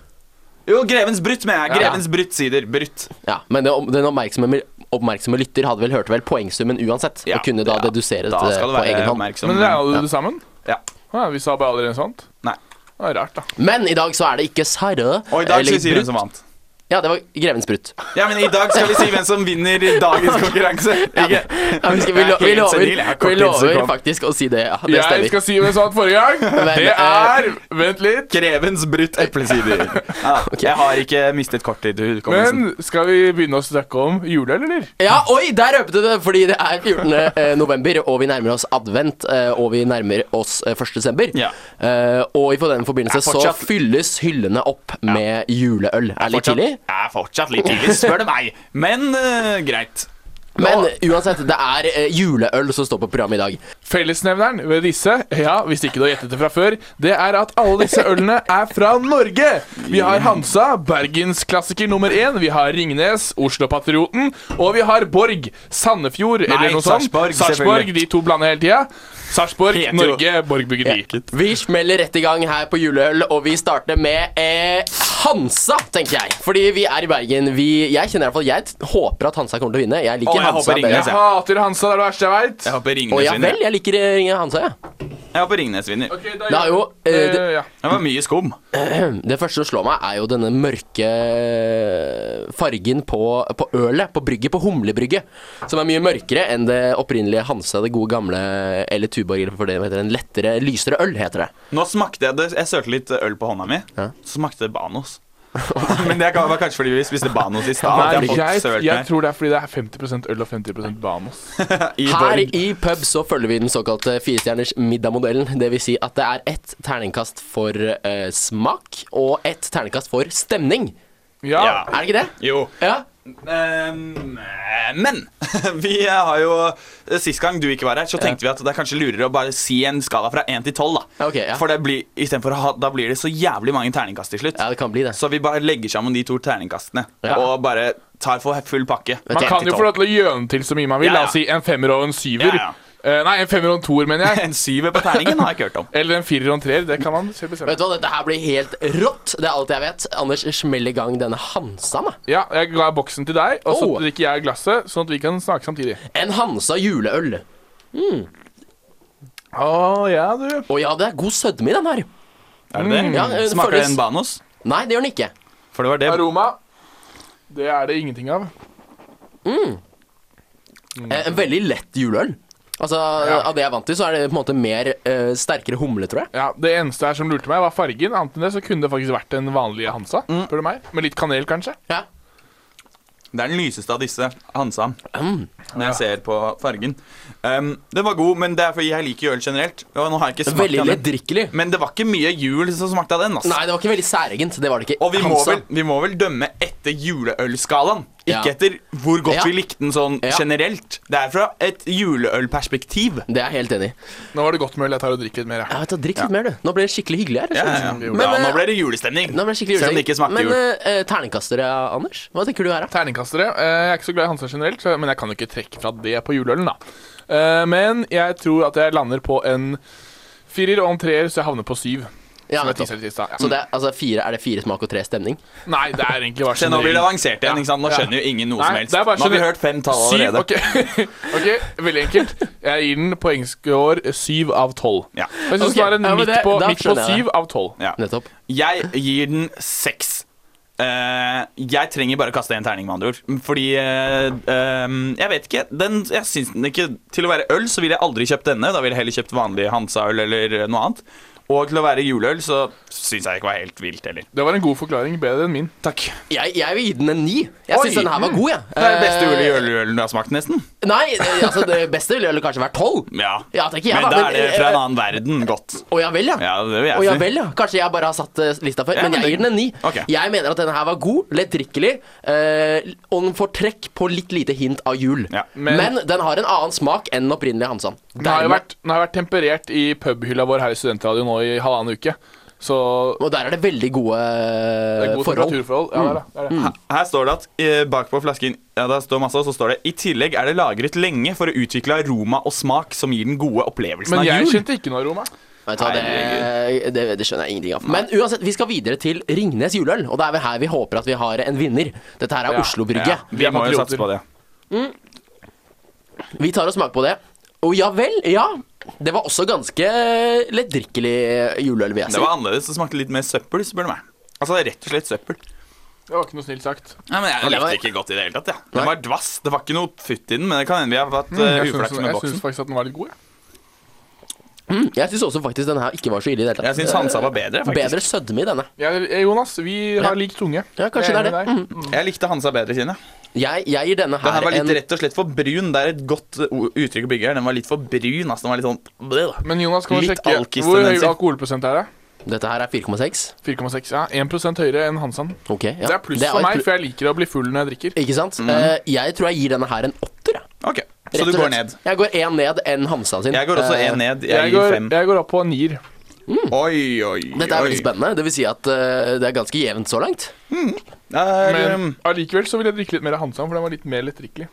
S4: Jo, Grevens Brutt, mener jeg.
S3: Ja.
S4: Grevens Brutt Sider. Brutt.
S3: Ja, men det, den oppmerksomme oppmerksomme lytter hadde vel hørt vel poengsummen uansett,
S4: Ja,
S3: og kunne da
S4: ja,
S3: dedusere
S4: da
S3: dette
S4: skal
S3: på
S4: du være
S3: egen hånd.
S4: oppmerksom.
S5: Men dere er jo det sammen?
S4: Ja.
S5: Å Ja, vi sa bare aldri noe sånt?
S4: Nei.
S5: Det er rart, da.
S3: Men i dag så er det ikke Sara
S4: Og i dag skal
S3: eller
S4: vi si
S3: Brut.
S4: hvem som vant.
S3: Ja, det var Grevens Brutt.
S4: Ja, men i dag skal vi si hvem som vinner dagens konkurranse. Ikke?
S3: Ja, vi, skal, vi, lo
S4: Jeg er
S3: vi
S4: helt
S3: lover,
S4: senil, jeg har kort
S3: vi
S4: tid, så
S3: lover
S4: kom.
S3: faktisk å si det. Ja, det
S5: Jeg
S3: stemmer.
S5: skal si hvem som vant forrige gang.
S3: Men,
S5: Det
S3: eh,
S5: er Vent litt.
S4: Grevens brutt eplesider. Ja, Jeg har ikke mistet kortet i hukommelsen.
S5: Men skal vi begynne å snakke om juleøl, eller?
S3: Ja, oi, der røpte du det! Fordi det er 14. eh, november, og vi nærmer oss advent. eh, Og vi nærmer oss eh, 1. desember.
S4: Ja.
S3: Eh, Og i for den forbindelse
S4: Det er fortsatt-
S3: så fylles hyllene opp med juleøl. Er litt
S4: Fortsatt-
S3: tidlig?
S4: Ja, fortsatt litt tidlig, spør du meg. Men eh, greit.
S3: Men uansett, det er eh, juleøl som står på programmet i dag.
S5: Fellesnevneren ved disse, ja, hvis ikke du har gjettet det fra før, det er at alle disse ølene er fra Norge. Vi har Hansa, bergensklassiker nummer én. Vi har Ringnes, Oslo-patrioten. Og vi har Borg, Sandefjord eller noe sånt.
S4: Sarpsborg,
S5: Sarpsborg,
S4: selvfølgelig.
S5: de to blander hele tida. Sarpsborg,
S4: Heter jo-
S5: Norge, Borg bryggeri.
S3: Vi smeller rett i gang her på juleøl, og vi starter med eh, Hansa, tenker jeg. Fordi vi er i Bergen. Vi, jeg kjenner i hvert fall, jeg t- håper at Hansa kommer til å vinne. Jeg liker
S4: Og jeg
S3: Hansa
S4: håper
S5: Jeg
S4: Ringnes,
S3: bedre.
S4: ja.
S5: hater Hansa, det er det verste jeg veit.
S4: Jeg håper
S3: Å
S4: Ringnes
S3: ja vel,
S4: vinner.
S3: jeg liker eh, Hansa, jeg. Ja.
S4: Jeg håper Ringnes vinner.
S3: Det er jo eh, det,
S5: Eh, ja.
S4: Det var mye skum.
S3: det første som slår meg, er jo denne mørke eh, fargen på, på ølet. På brygget, på humlebrygget. Som er mye mørkere enn det opprinnelige Hansa, det gode gamle Eller Tuborg, eller for det heter. En lettere, lysere øl, heter det.
S4: Nå smakte jeg det Jeg sølte litt øl på hånda mi. Så smakte det Banos. Men det var kanskje fordi vi spiste Banos i stad.
S5: Nei,
S4: at jeg har fått
S5: jeg,
S4: sølt
S5: jeg
S4: meg
S5: tror det er fordi det er 50 øl og 50 Banos.
S4: i
S3: Her
S4: Borg.
S3: i pub så følger vi den såkalte firestjerners middag-modellen. Det vil si at det er ett terningkast for eh, smak og ett terningkast for stemning.
S5: Ja.
S4: Ja.
S3: Er det ikke det?
S4: Jo.
S3: Ja.
S4: Ehm, eh, Men vi har jo Sist gang du ikke var her, så tenkte vi at det er kanskje lurere å bare si en skala fra 1 til 12. da
S3: Ok, ja.
S4: For det blir, i stedet for å ha, da blir det så jævlig mange terningkast til slutt.
S3: ja, det kan bli det.
S4: Så vi bare legger sammen de to terningkastene
S3: Ja.
S4: og bare tar for full pakke.
S5: Man
S3: Ok,
S5: kan jo få lov til å gjøre den til så mye man vil.
S4: Ja, ja.
S5: La oss si en femmer og en syver.
S4: Ja, ja.
S5: Eh, nei, en femmer og en toer, mener jeg.
S4: En syver på terningen har jeg ikke hørt om.
S5: Eller en firer og en treer. Det kan man selv bestemme.
S3: Vet du hva, Dette her blir helt rått. Det er alt jeg vet. Anders, smell i gang denne Hansa. da.
S5: Ja, jeg ga boksen til deg, og så
S3: Oh.
S5: drikker jeg glasset, sånn at vi kan snakke samtidig.
S3: En Hansa juleøl.
S5: Å ja, du.
S3: Å ja, det er god sødme i den her.
S4: Er det det?
S3: Ja, eh, det
S4: Smaker det
S3: føles-
S4: en Banos?
S3: Nei, det gjør den ikke.
S4: For det var det.
S5: Aroma. Det er det ingenting av.
S4: Mm.
S3: Eh, En veldig lett juleøl. Altså, Av det jeg er vant til, så er det på en måte mer eh, sterkere humle, tror jeg.
S5: Ja, Det eneste her som lurte meg, var fargen. Annet enn det så kunne det faktisk vært en vanlig Hansa. Spør du meg? Med litt kanel, kanskje?
S3: Ja.
S4: Det er den lyseste av disse Hansa.
S3: Mm.
S4: Når jeg ser på fargen. Um, den var god, men det er fordi jeg liker øl generelt. Og nå har jeg ikke smakt
S3: Veldig
S4: av den.
S3: leddrikkelig.
S4: Men det var ikke mye jul som smakte av den. ass.
S3: Nei, det var ikke veldig særegent. Det var det ikke.
S4: Og vi må,
S3: Hansa.
S4: vel, vi må vel dømme etter juleølskalaen. Ikke
S3: Ja.
S4: etter hvor godt
S3: Ja.
S4: vi likte den sånn
S3: Ja.
S4: generelt. Det er fra et juleølperspektiv.
S3: Det er jeg helt enig i.
S5: Nå var det godt med øl. Jeg tar og drikker litt mer. jeg.
S3: Ja, vet du, Drikk litt mer, du. Nå ble det skikkelig hyggelig her.
S4: Ja, ja,
S3: altså.
S4: ja.
S5: Men,
S4: ja,
S3: eh,
S4: nå ble det julestemning.
S3: Nå ble det skikkelig
S4: Selv om
S3: julestemning.
S4: det ikke smakte
S3: Men
S4: jul.
S3: eh, eh, terningkastere, Anders? Hva tenker du her, da?
S5: Terningkastere. Eh, Jeg er ikke så glad i Hansa generelt, så- men jeg kan jo ikke trekke fra det på juleølen, da. Eh, Men jeg tror at jeg lander på en firer og en treer, så jeg havner på syv.
S3: Ja,
S5: som jeg
S3: nettopp.
S5: teaset litt i stad. Ja. Mm.
S3: Så det er, altså, fire, er det fire smak og tre stemning?
S5: Nei, det er egentlig bare sånn
S4: Se, nå blir det avansert igjen.
S5: Ja.
S4: ikke sant? Nå
S5: Ja.
S4: skjønner jo ingen noe
S5: Nei,
S4: som helst.
S5: det er bare
S4: Nå har vi
S5: skjønner-
S4: hørt fem tall
S5: Syv,
S4: allerede.
S5: ok. ok, Veldig enkelt. Jeg gir den poengscore syv av tolv.
S4: Ja.
S5: Jeg syns
S3: Ok,
S5: det var en
S3: ja, men
S5: midt
S3: det-
S5: på,
S3: da
S5: midt på
S3: skjønner jeg
S5: syv av tolv.
S4: Ja.
S3: Nettopp.
S4: Jeg gir den seks. Eh, jeg trenger bare å kaste en terning, med andre ord. Fordi eh, ehm, Jeg vet ikke. Den, jeg syns den ikke Til å være øl så ville jeg aldri kjøpt denne. Da ville jeg heller kjøpt vanlig Hansa-øl eller noe annet. Og til å være juleøl så syns jeg ikke var helt vilt heller.
S5: Det var en god forklaring. Bedre enn min.
S4: Takk.
S3: Jeg, jeg vil gi den en ni. Jeg syns den her var god, jeg.
S4: Det er det beste jule- juleølen du har smakt, nesten.
S3: Eh, Nei, eh, altså, det beste ville vel kanskje vært tolv.
S4: Ja.
S3: Ja, tenker jeg,
S4: Men
S3: da,
S4: da
S3: men,
S4: er det
S3: eh,
S4: fra en annen verden godt.
S3: Å ja vel, ja.
S4: Ja, det vil jeg
S3: Å ja
S4: si.
S3: vel, ja. Kanskje jeg bare har satt eh, lista før.
S4: Ja,
S3: men
S4: men
S3: jeg
S4: det-
S3: gir den en ni.
S4: Ok.
S3: Jeg mener at denne her var god, lettdrikkelig, eh, og den får trekk på litt lite hint av jul.
S4: Ja.
S3: Men,
S5: Men-
S3: den har en annen smak enn den opprinnelige Hansan.
S5: Den har jo
S3: Dermed-
S5: vært, den har vært temperert i pubhylla vår her i Studentradioen nå i halvannen uke. Så
S3: Og der er det veldig gode,
S5: det er
S3: eh,
S5: gode
S3: forhold.
S5: temperaturforhold. Ja, det er det. det, er det.
S4: Her- Her står det at eh, bakpå flasken ja, der står masse, og så står det I tillegg er det lagret lenge for å utvikle aroma og smak som gir den gode opplevelsen
S5: Men
S4: av
S5: jeg
S4: jul.
S5: kjente ikke noe aroma.
S3: Vet du hva, det, det, det skjønner jeg ingenting av. Men uansett, vi skal videre til Ringnes juleøl, og det er vel her vi håper at vi har en vinner. Dette her er
S5: Ja.
S3: Oslo Brygge.
S4: Ja, vi
S5: Vi er
S4: må jo
S5: patrioter.
S4: satse på det.
S3: Vi tar og smaker på det. Og ja vel, ja. Det var også ganske lettdrikkelig juleøl, vil jeg
S4: Det
S3: si.
S4: var annerledes. Det smakte litt mer søppel, spør du meg. Altså rett og slett søppel.
S5: Det var ikke noe snilt sagt.
S4: Ja, men Jeg
S3: det
S4: likte
S3: var-
S4: det ikke godt i det hele tatt. Ja. Den var dvass. Det var ikke noe futt i den, men det kan hende vi har hatt uh,
S5: Mm, Jeg
S4: uflaks
S5: syns,
S4: med
S5: jeg syns
S4: boksen.
S5: faktisk at den var litt god. Jeg.
S3: Jeg syns også faktisk denne her ikke var så ille i det hele
S4: Jeg
S3: tatt.
S4: syns Hansa var bedre, faktisk.
S3: Bedre sødme i denne.
S5: Jeg, eh, Jonas, vi har lik tunge.
S3: Ja, kanskje
S5: Jeg
S3: det
S5: enig
S3: er det.
S5: med deg.
S4: Jeg likte Hansa bedre sine.
S3: Jeg, jeg gir denne
S4: Den her
S3: her
S4: var litt
S3: en
S4: rett og slett for brun. Det er et godt uh, o- uttrykk å bygge her. Den var litt for brun. Altså, den var litt sånn bleh.
S5: Men Jonas, kan du
S4: Litt
S5: sjekke hvor høy
S4: alkistendenser.
S5: alkoholprosent er det?
S3: Dette her er 4,6.
S5: 4,6. Ja, 1 høyere enn Hansan.
S3: Ok, ja.
S5: Det er pluss
S3: jo
S5: for
S3: et
S5: meg,
S3: plu-
S5: for jeg liker å bli full når jeg drikker.
S3: Ikke sant? Eh, jeg tror jeg gir denne her en åtter. jeg.
S4: OK,
S3: Rett
S4: Mhm. så
S3: og
S4: du
S3: slett.
S4: går ned.
S3: Jeg går én ned enn Hansa sin.
S4: Jeg går også
S3: Eh,
S4: én ned. Jeg,
S5: Jeg
S4: gir
S5: går,
S4: fem.
S5: jeg går opp på en nier.
S4: Oi, oi, oi.
S3: Dette er veldig spennende. Det vil si at eh, det er ganske jevnt så langt.
S4: Er, um,
S5: Men allikevel så vil jeg drikke litt mer av Hansan, for den var litt mer lettdrikkelig.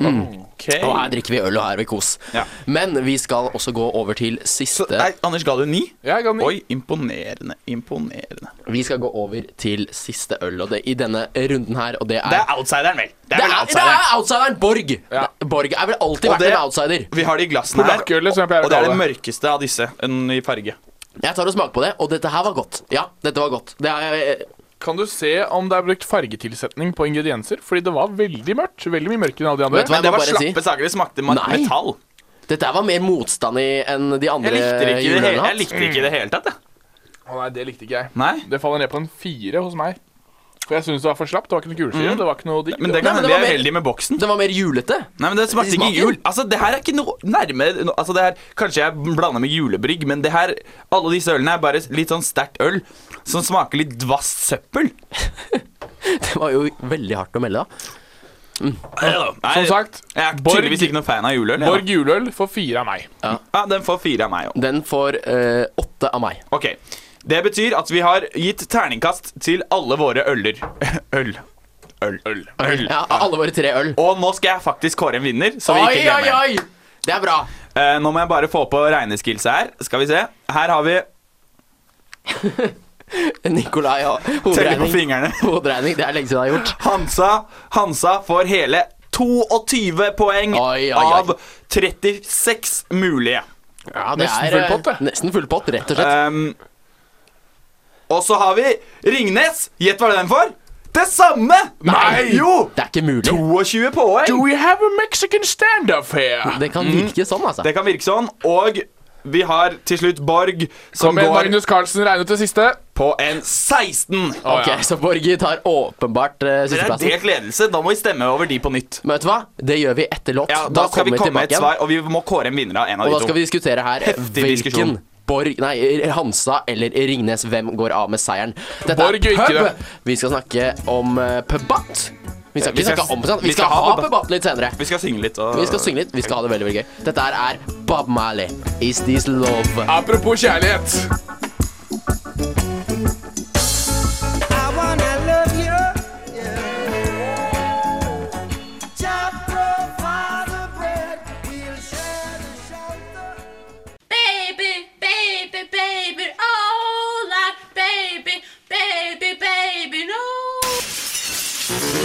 S4: ok.
S3: Og her drikker vi øl, og her er vi kos.
S4: Ja.
S3: Men vi skal også gå over til
S4: Så,
S3: siste
S4: nei, Anders ga du ni?
S5: Jeg ga den ni.
S4: Oi, imponerende. Imponerende.
S3: Vi skal gå over til siste øl og det, i denne runden her, og det er
S4: Det er outsideren, vel. Det
S3: det
S4: er
S3: er,
S4: vel
S3: det
S4: outsideren.
S3: er outsideren Borg! Det- Borg er vel alltid
S4: Og
S3: vært
S4: det-
S3: en outsider.
S4: Vi har det i glassene her,
S5: Polakkølet, som jeg pleier å
S4: og det er
S5: kalle
S4: det
S5: det.
S4: mørkeste av disse enn i farge.
S3: Jeg tar og smaker på det, og dette her var godt. Ja, dette var godt. Det er,
S5: Kan du se om det er brukt fargetilsetning på ingredienser? Fordi det var veldig mørkt. Veldig mye mørkere enn alle de andre.
S3: Vet du hva?
S4: Men det
S3: må
S4: var
S3: bare si-
S4: slappe saker. Det smakte ma-
S3: Nei.
S4: metall.
S3: dette her var mer motstand i enn de andre
S4: Jeg likte det ikke i det
S3: juleølene
S4: hele,
S3: har
S4: jeg likte det ikke i det hele tatt. jeg.
S5: Å nei, det likte ikke jeg.
S4: Nei.
S5: Det faller ned på en fire hos meg. For jeg syns det var for slapt. Det var ikke noe kulsyre. Det var ikke noe digg.
S4: Mm. Men
S3: Nei,
S4: det kan
S3: men
S4: hende
S3: det
S4: vi
S3: var
S4: er
S3: mer-
S4: heldige med boksen.
S3: Den var mer julete.
S4: Nei, men Det smakte ikke
S3: Smaken?
S4: jul. Altså, det her er ikke noe nærmere no- Altså, det her, Kanskje jeg blander med julebrygg, men det her, alle disse ølene er bare litt sånn sterkt øl som smaker litt dvast søppel.
S3: Det var jo veldig hardt å melde, da.
S4: Som
S5: Som sagt,
S4: jeg er
S5: Borg-
S4: tydeligvis ikke noen fan av juleøl. jeg, da.
S5: Borg juleøl får fire av meg.
S4: Ja, den får fire av meg òg.
S3: Den får eh, åtte av meg.
S4: Ok, Det betyr at vi har gitt terningkast til alle våre øller. Øl. Øl. Øl. Øl.
S3: Ja, av alle våre tre øl.
S4: Og nå skal jeg faktisk kåre en vinner. Så vi
S3: Oi,
S4: ikke
S3: oi,
S4: glemmer.
S3: oi! Det er bra.
S4: Eh, nå må jeg bare få på regneskillset her. Skal vi se. Her har vi
S3: Nikolai har
S4: Teller på
S3: hoderegning.
S4: fingrene.
S3: Hoderegning, Det er lenge siden jeg har gjort.
S4: Hansa, Hansa får hele 22 poeng
S3: Oi, oi, oi.
S4: av 36 mulige.
S3: Ja, det
S5: Nesten
S3: er, eh,
S5: full pott, det.
S3: Nesten full pott, rett og slett.
S4: Ehm, og så har vi Ringnes. Gjett hva den får? Det samme!
S3: Nei!
S4: Jo!
S3: Det er ikke mulig.
S4: 22 poeng.
S5: Do we have a Mexican standoff here?
S3: Det kan virke sånn, altså.
S4: Mm. Det kan virke sånn. Og vi har til slutt Borg, som
S5: Kom igjen,
S4: går
S5: Magnus Carlsen regnet det siste.
S4: på en 16.
S5: Å,
S3: Ok,
S5: ja.
S3: Så Borger tar åpenbart eh,
S4: Det er
S3: sisteplassen.
S4: delt ledelse. Da må vi stemme over de på nytt.
S3: Men vet du hva? Det gjør vi etter låt.
S4: Ja, da, skal vi komme
S3: tilbake
S4: med et
S3: igjen,
S4: svar, og vi må kåre en vinner av en av
S3: Og da
S4: de to.
S3: skal vi diskutere her eh,
S4: Heftig
S3: hvilken
S4: diskusjon.
S3: Borg, nei, eh, Hansa eller Ringnes, hvem går av med seieren? Dette
S5: Borg
S3: er
S5: gjør ikke det.
S3: Vi skal snakke om uh, pubat. Vi skal
S4: Vi
S3: ikke
S4: skal-
S3: snakke om pubat, vi skal ha
S4: pub-batt.
S3: pubat litt senere.
S4: Vi skal synge litt. Og...
S3: Vi skal synge litt. Vi skal ha det veldig veldig gøy. Dette her er Bob Marley. Is this love?
S5: Apropos kjærlighet.
S7: Baby, baby, baby, oh, like baby, baby, baby, no.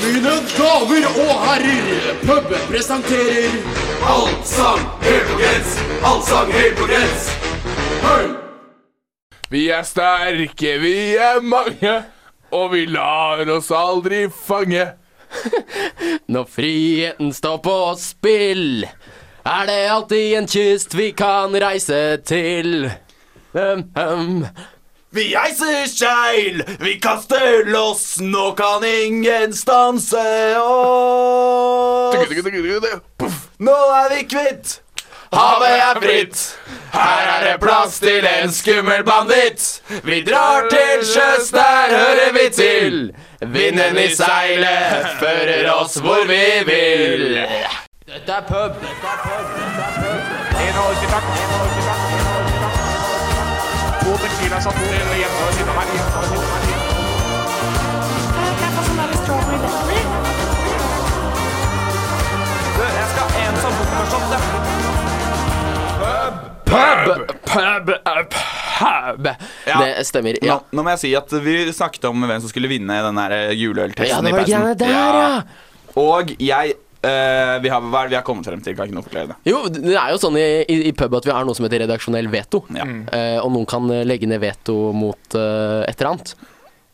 S3: Mine damer og herrer, pub presenterer
S5: Vi er sterke, vi er mange, og vi lar oss aldri fange.
S3: Når friheten står på spill, er det alltid en kyst vi kan reise til. Um, um.
S4: Vi heiser seil, vi kaster loss, nå kan ingen stanse oss. Nå er vi kvitt, havet er fritt. Her er det plass til en skummel banditt. Vi drar til sjøs, der hører vi til. Vinden i seilet fører oss hvor vi vil.
S3: Dette er pub.
S4: Jeg skal ha en som bokforstått det.
S5: Pub, pub.
S3: Pub.
S4: Ja.
S3: Det stemmer. Ja.
S4: Nå, nå må jeg si at vi snakket om hvem som skulle vinne den der juleøltesten
S3: Ja, det
S4: i
S3: var de
S4: pausen.
S3: greiene der, ja.
S4: Og jeg eh, vi, har, hva er det vi har kommet frem til? Kan ikke noe forklare det.
S3: Jo, det er jo sånn i, i, i pub at vi har noe som heter redaksjonell veto.
S4: Ja.
S3: Eh, og noen kan eh, legge ned veto mot eh, et eller annet.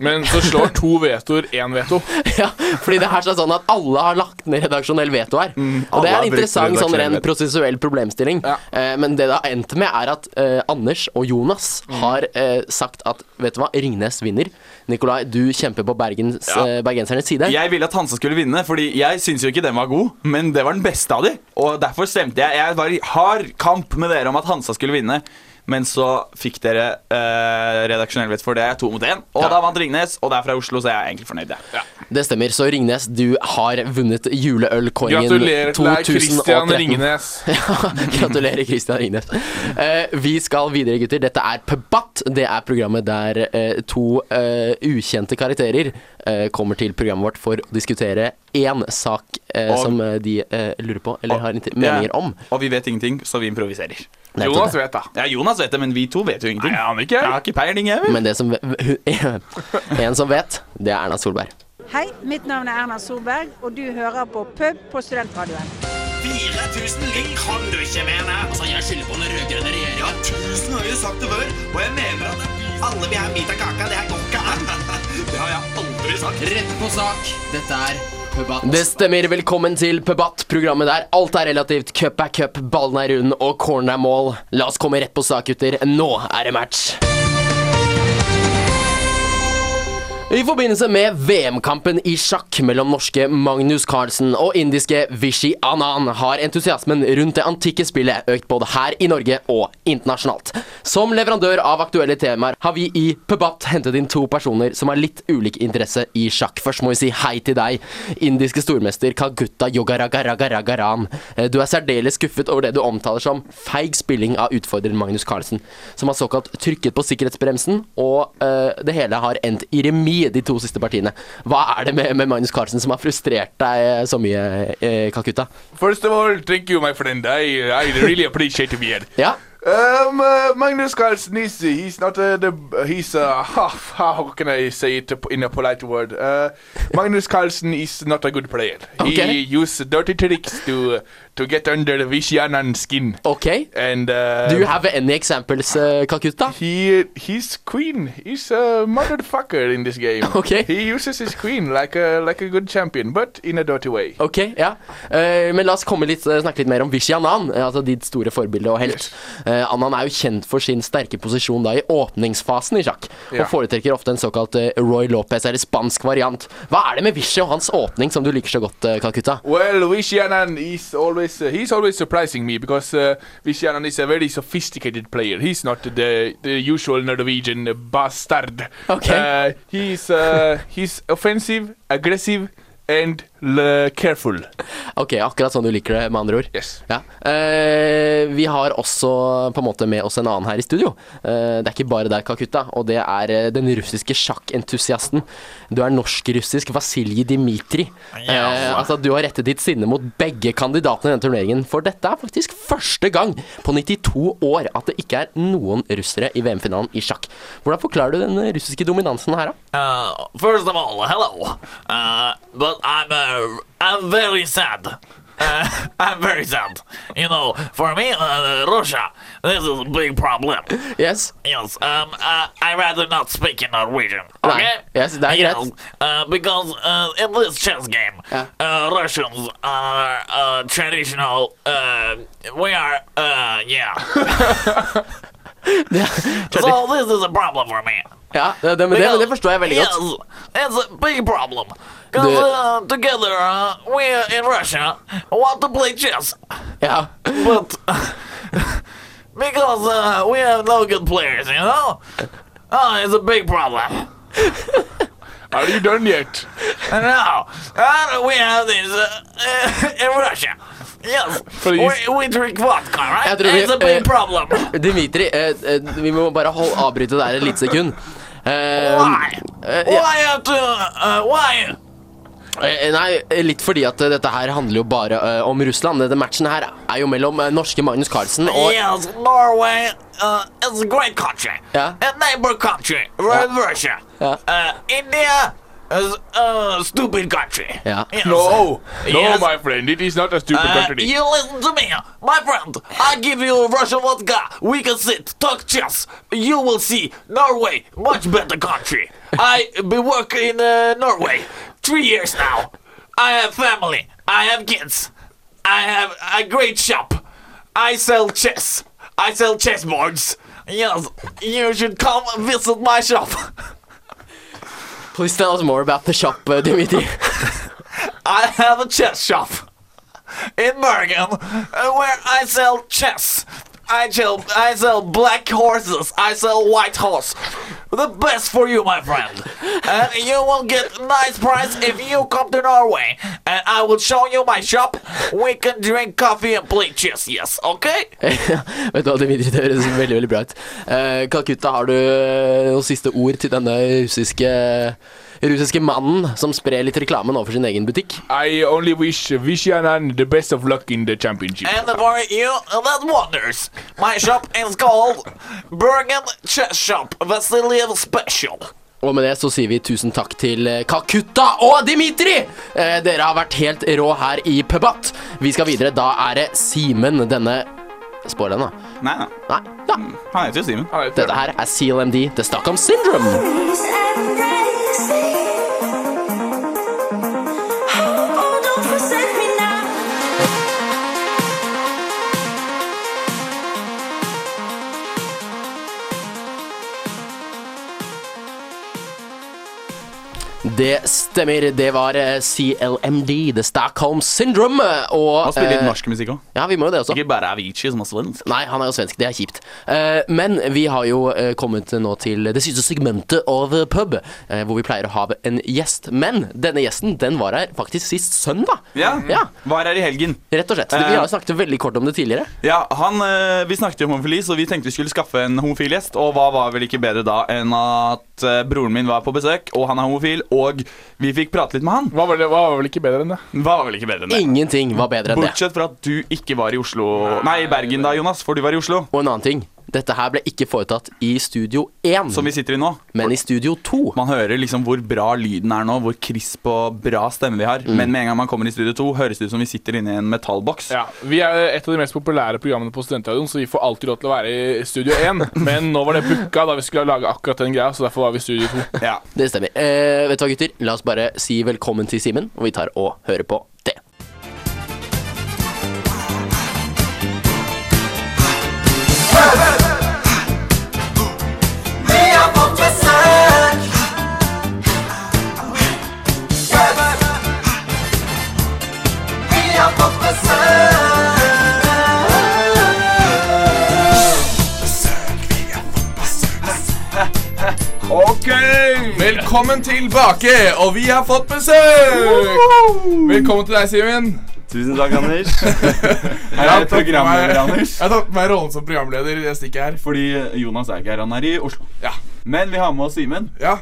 S5: Men så slår to vetoer én veto.
S3: ja, fordi det her er sånn at alle har lagt ned redaksjonell veto her. og det
S9: alle har
S3: er en
S9: brukt
S3: interessant sånn
S9: redaksjonell
S3: ren
S9: veto.
S3: prosessuell problemstilling. Eh, men det det har endt med, er at eh, Anders og Jonas har eh, sagt at vet du hva, Ringnes vinner. Nikolai, du kjemper på Bergens,
S4: Ja.
S3: eh, bergensernes side.
S4: Jeg ville at Hanse skulle vinne, Fordi jeg syns jo ikke den var god, men det var den beste av de. Og derfor stemte jeg. Jeg var i hard kamp med dere om at Hansa skulle vinne. Men så fikk dere eh, redaksjonell vett for det. To mot én. Og da vant Ringnes, og det er fra Oslo, så jeg er egentlig fornøyd. jeg.
S3: Det stemmer. Så Ringnes, du har vunnet juleølkåringen
S5: Gratulerer til deg,
S3: 2013.
S5: Christian Ringnes.
S3: Ja, Gratulerer, Christian Ringnes. Eh, vi skal videre, gutter. Dette er Pubbatt. Det er programmet der eh, to eh, ukjente karakterer eh, kommer til programmet vårt for å diskutere én sak eh,
S4: Og-
S3: som eh, de eh, lurer på, eller har inter- meninger
S4: Ja.
S3: om.
S4: Og vi vet ingenting, så vi improviserer.
S3: Nettopp
S5: Jonas
S3: det.
S5: vet da.
S4: Ja, Jonas vet det, men vi to vet jo ingenting.
S5: Nei, jeg aner ikke, jeg.
S4: Jeg har ikke peiling, jeg. vel?
S3: Men det som En som vet, det er Erna Solberg.
S7: Hei, mitt navn er Erna Solberg, og du hører på Pub på Studentradioen.
S6: 4000 lyng kan du ikke mene! Altså, jeg skylder på den rød-grønne regjeringa. Tusen har vi sagt det før, og jeg mener at alle vil ha en bit av kaka. Det her går ikke an. Det har jeg aldri sagt.
S3: Rett på sak. Dette er Pubbatt. Det stemmer. Velkommen til Pubbatt, programmet der alt er relativt. Cup er cup, ballen er rund, og corn er mål. La oss komme rett på sak, gutter. Nå er det match. I forbindelse med VM-kampen i sjakk mellom norske Magnus Carlsen og indiske Vishy Anand har entusiasmen rundt det antikke spillet økt både her i Norge og internasjonalt. Som leverandør av aktuelle temaer har vi i Pubat hentet inn to personer som har litt ulik interesse i sjakk. Først må vi si hei til deg, indiske stormester Kalgutta Yogaragaragaragaran. Eh, Du er særdeles skuffet over det du omtaler som feig spilling av utfordrer Magnus Carlsen, som har såkalt trykket på sikkerhetsbremsen, og eh, det hele har endt i remis de to siste partiene. Hva er det med, med Magnus Carlsen som har frustrert deg eh, så mye, eh, Calcutta?
S5: First of all, thank you, my friend. I, I really appreciate to be here.
S3: Ja,
S5: Um, uh, Magnus Carlsen is he's not uh, the he's uh, half how can I say it in a polite word? Uh, Magnus Carlsen is not a good player.
S3: Okay.
S5: He uses dirty tricks to to get under the Vishyanan skin,
S3: OK.
S5: and uh,
S3: Oh. Do you have any examples, eh, Calcutta?
S5: he his queen is a motherfucker in this game.
S3: Okay.
S5: he uses his queen like a like a good champion, but in a dirty way.
S3: Ok, ja. Eh, men la oss komme litt, eh, snakke litt mer om Vishy Anand, eh, altså ditt store forbilde og helt. Eh, Anand er jo kjent for sin sterke posisjon da i åpningsfasen i sjakk,
S5: Ja.
S3: og foretrekker ofte en såkalt eh, Roy Lopez, eller spansk variant. Hva er det med Vishy og hans åpning som du liker så godt, eh, Calcutta?
S5: Well, Vishyanan is always uh, he's always surprising me because uh, Vishyanan is a very sophisticated player. He's not the the usual Norwegian bastard.
S3: Okay.
S5: Uh, he's uh, he's offensive, aggressive, and l- careful.
S3: Ok, akkurat sånn du liker det, med andre ord.
S5: Yes.
S3: Ja. Eh, vi har også på en måte med oss en annen her i studio. Eh, det er ikke bare deg, Kakuta, og det er eh, den russiske sjakkentusiasten. Du er norsk-russisk Vasilij Dimitri. Eh, altså, du har rettet ditt sinne mot begge kandidatene i denne turneringen, for dette er faktisk første gang på 92 år at det ikke er noen russere i VM-finalen i sjakk. Hvordan forklarer du den russiske dominansen her, da?
S6: Uh, first of all, hello. Uh, but I'm uh, I'm very sad. Uh, I'm very sad. You know, for me, uh, Russia, this is a big problem.
S3: Yes.
S6: Yes, um, uh, I rather not speak in Norwegian.
S3: Right.
S6: Okay?
S3: Yes, that-
S6: You
S3: that's-
S6: know, uh, because uh, in this chess game,
S3: Yeah.
S6: uh, Russians are uh, traditional. Uh, we are, uh, yeah. so this is a problem for me.
S3: Ja, det, det, men det, det forstår jeg veldig godt.
S6: Yes, it's a big problem. Because
S3: The-
S6: uh, together, uh, we in Russia want to play chess,
S3: Ja.
S6: but because uh, we have no good players, you know? Oh, it's a big problem.
S5: Are you done yet?
S6: And now, uh, we have this uh, in Russia. Yes,
S5: Please.
S6: we, we drink vodka,
S3: Yeah,
S6: right?
S3: do we-
S6: It's a big
S3: uh,
S6: problem.
S3: Dimitri, eh, eh, vi må bare hold, avbryte der et lite sekund. Eh,
S6: Why?
S3: eh, ja,
S6: Why have to? Uh, why?
S3: eh, nei, eh, litt fordi at eh, dette her handler jo bare eh, om Russland. Denne matchen her er jo mellom eh, norske Magnus Carlsen og
S6: yes, Norway uh, is a great country.
S3: Yeah.
S6: A neighbor country. Right, Russia.
S3: Yeah.
S6: Uh, India As a stupid country.
S3: Ja.
S6: Yes.
S10: No, no,
S6: Yes.
S10: my friend, it is not a stupid
S6: Uh,
S10: country.
S6: you listen to me, my friend. I give you Russian vodka. We can sit, talk chess. You will see Norway, much better country. I been working in uh, Norway three years now. I have family. I have kids. I have a great shop. I sell chess. I sell chessboards. Yes, you should come visit my shop.
S3: Please tell us more about the shop, uh, Dimitri.
S6: I have a chess shop in Bergen uh, where I sell chess. I sell, I sell black horses. I sell white horse. The best for you, my friend. And you will get nice price if you come to Norway. And I will show you my shop. We can drink coffee and play chess. Yes, okay?
S3: Vet du hva, Dimitri, det høres veldig veldig bra ut. Eh, Calcutta, har du eh, noen siste ord til denne russiske russiske mannen som sprer litt reklame nå for sin egen butikk?
S10: I only wish Vishyanan the best of luck in the championship.
S6: And for you that wonders, my shop is called Bergen Chess Shop Vasiliev Special.
S3: Og med det så sier vi tusen takk til eh, Calcutta og Dimitri! Eh, dere har vært helt rå her i Pubat. Vi skal videre. Da er det Simen, denne Spoil den, da.
S6: Nei,
S3: Nei, da.
S6: han heter jo Simen.
S3: Dette her er CLMD, The Stockholm Syndrome. Det stemmer. Det var eh, CLMD, The Stockholm Syndrome. Og
S6: Han spiller litt
S3: eh,
S6: norsk musikk òg.
S3: Ja, vi må jo det også.
S6: Ikke bare Avicii, som er svensk.
S3: Nei, han er jo svensk. Det er kjipt. Eh, men vi har jo eh, kommet nå til det siste segmentet av pub, eh, hvor vi pleier å ha en gjest. Men denne gjesten den var her faktisk sist søndag.
S6: Ja. Eh.
S3: Ja,
S6: Var her i helgen.
S3: Rett og slett. Vi har jo snakket veldig kort om det tidligere.
S6: Ja, han, eh, Vi snakket jo om homofili, så vi tenkte vi skulle skaffe en homofil gjest. Og hva var vel ikke bedre da enn at eh, broren min var på besøk, og han er homofil, og vi fikk prate litt med han.
S10: Hva var, det, hva var vel ikke bedre enn det?
S6: Hva var vel ikke bedre enn det?
S3: Ingenting var bedre enn det.
S6: Bortsett fra at du ikke var i Oslo Nei, i Bergen da, Jonas, for du var i Oslo.
S3: Og en annen ting. Dette her ble ikke foretatt i Studio 1,
S6: Som vi sitter i nå.
S3: men i Studio 2.
S6: Man hører liksom hvor bra lyden er nå, hvor krisp og bra stemme vi har. Men med en gang man kommer i Studio 2, høres det ut som vi sitter inne i en metallboks.
S10: Ja, Vi er et av de mest populære programmene på Studentradioen, så vi får alltid lov til å være i Studio 1. Men nå var det booka da vi skulle lage akkurat den greia, så derfor var vi i Studio 2.
S6: Ja.
S3: Det stemmer. Eh, vet du hva, gutter? La oss bare si velkommen til Simen, og vi tar og hører på det.
S5: Ok, velkommen tilbake, og vi har fått besøk! Velkommen til deg, Simen.
S4: Tusen takk, Anders.
S5: Jeg
S4: Her er programleder Anders.
S5: Jeg har tatt på meg rollen som programleder. Jeg stikker her.
S4: Fordi Jonas er ikke her, han er i Oslo.
S5: Ja.
S4: Men vi har med oss Simen.
S5: Ja,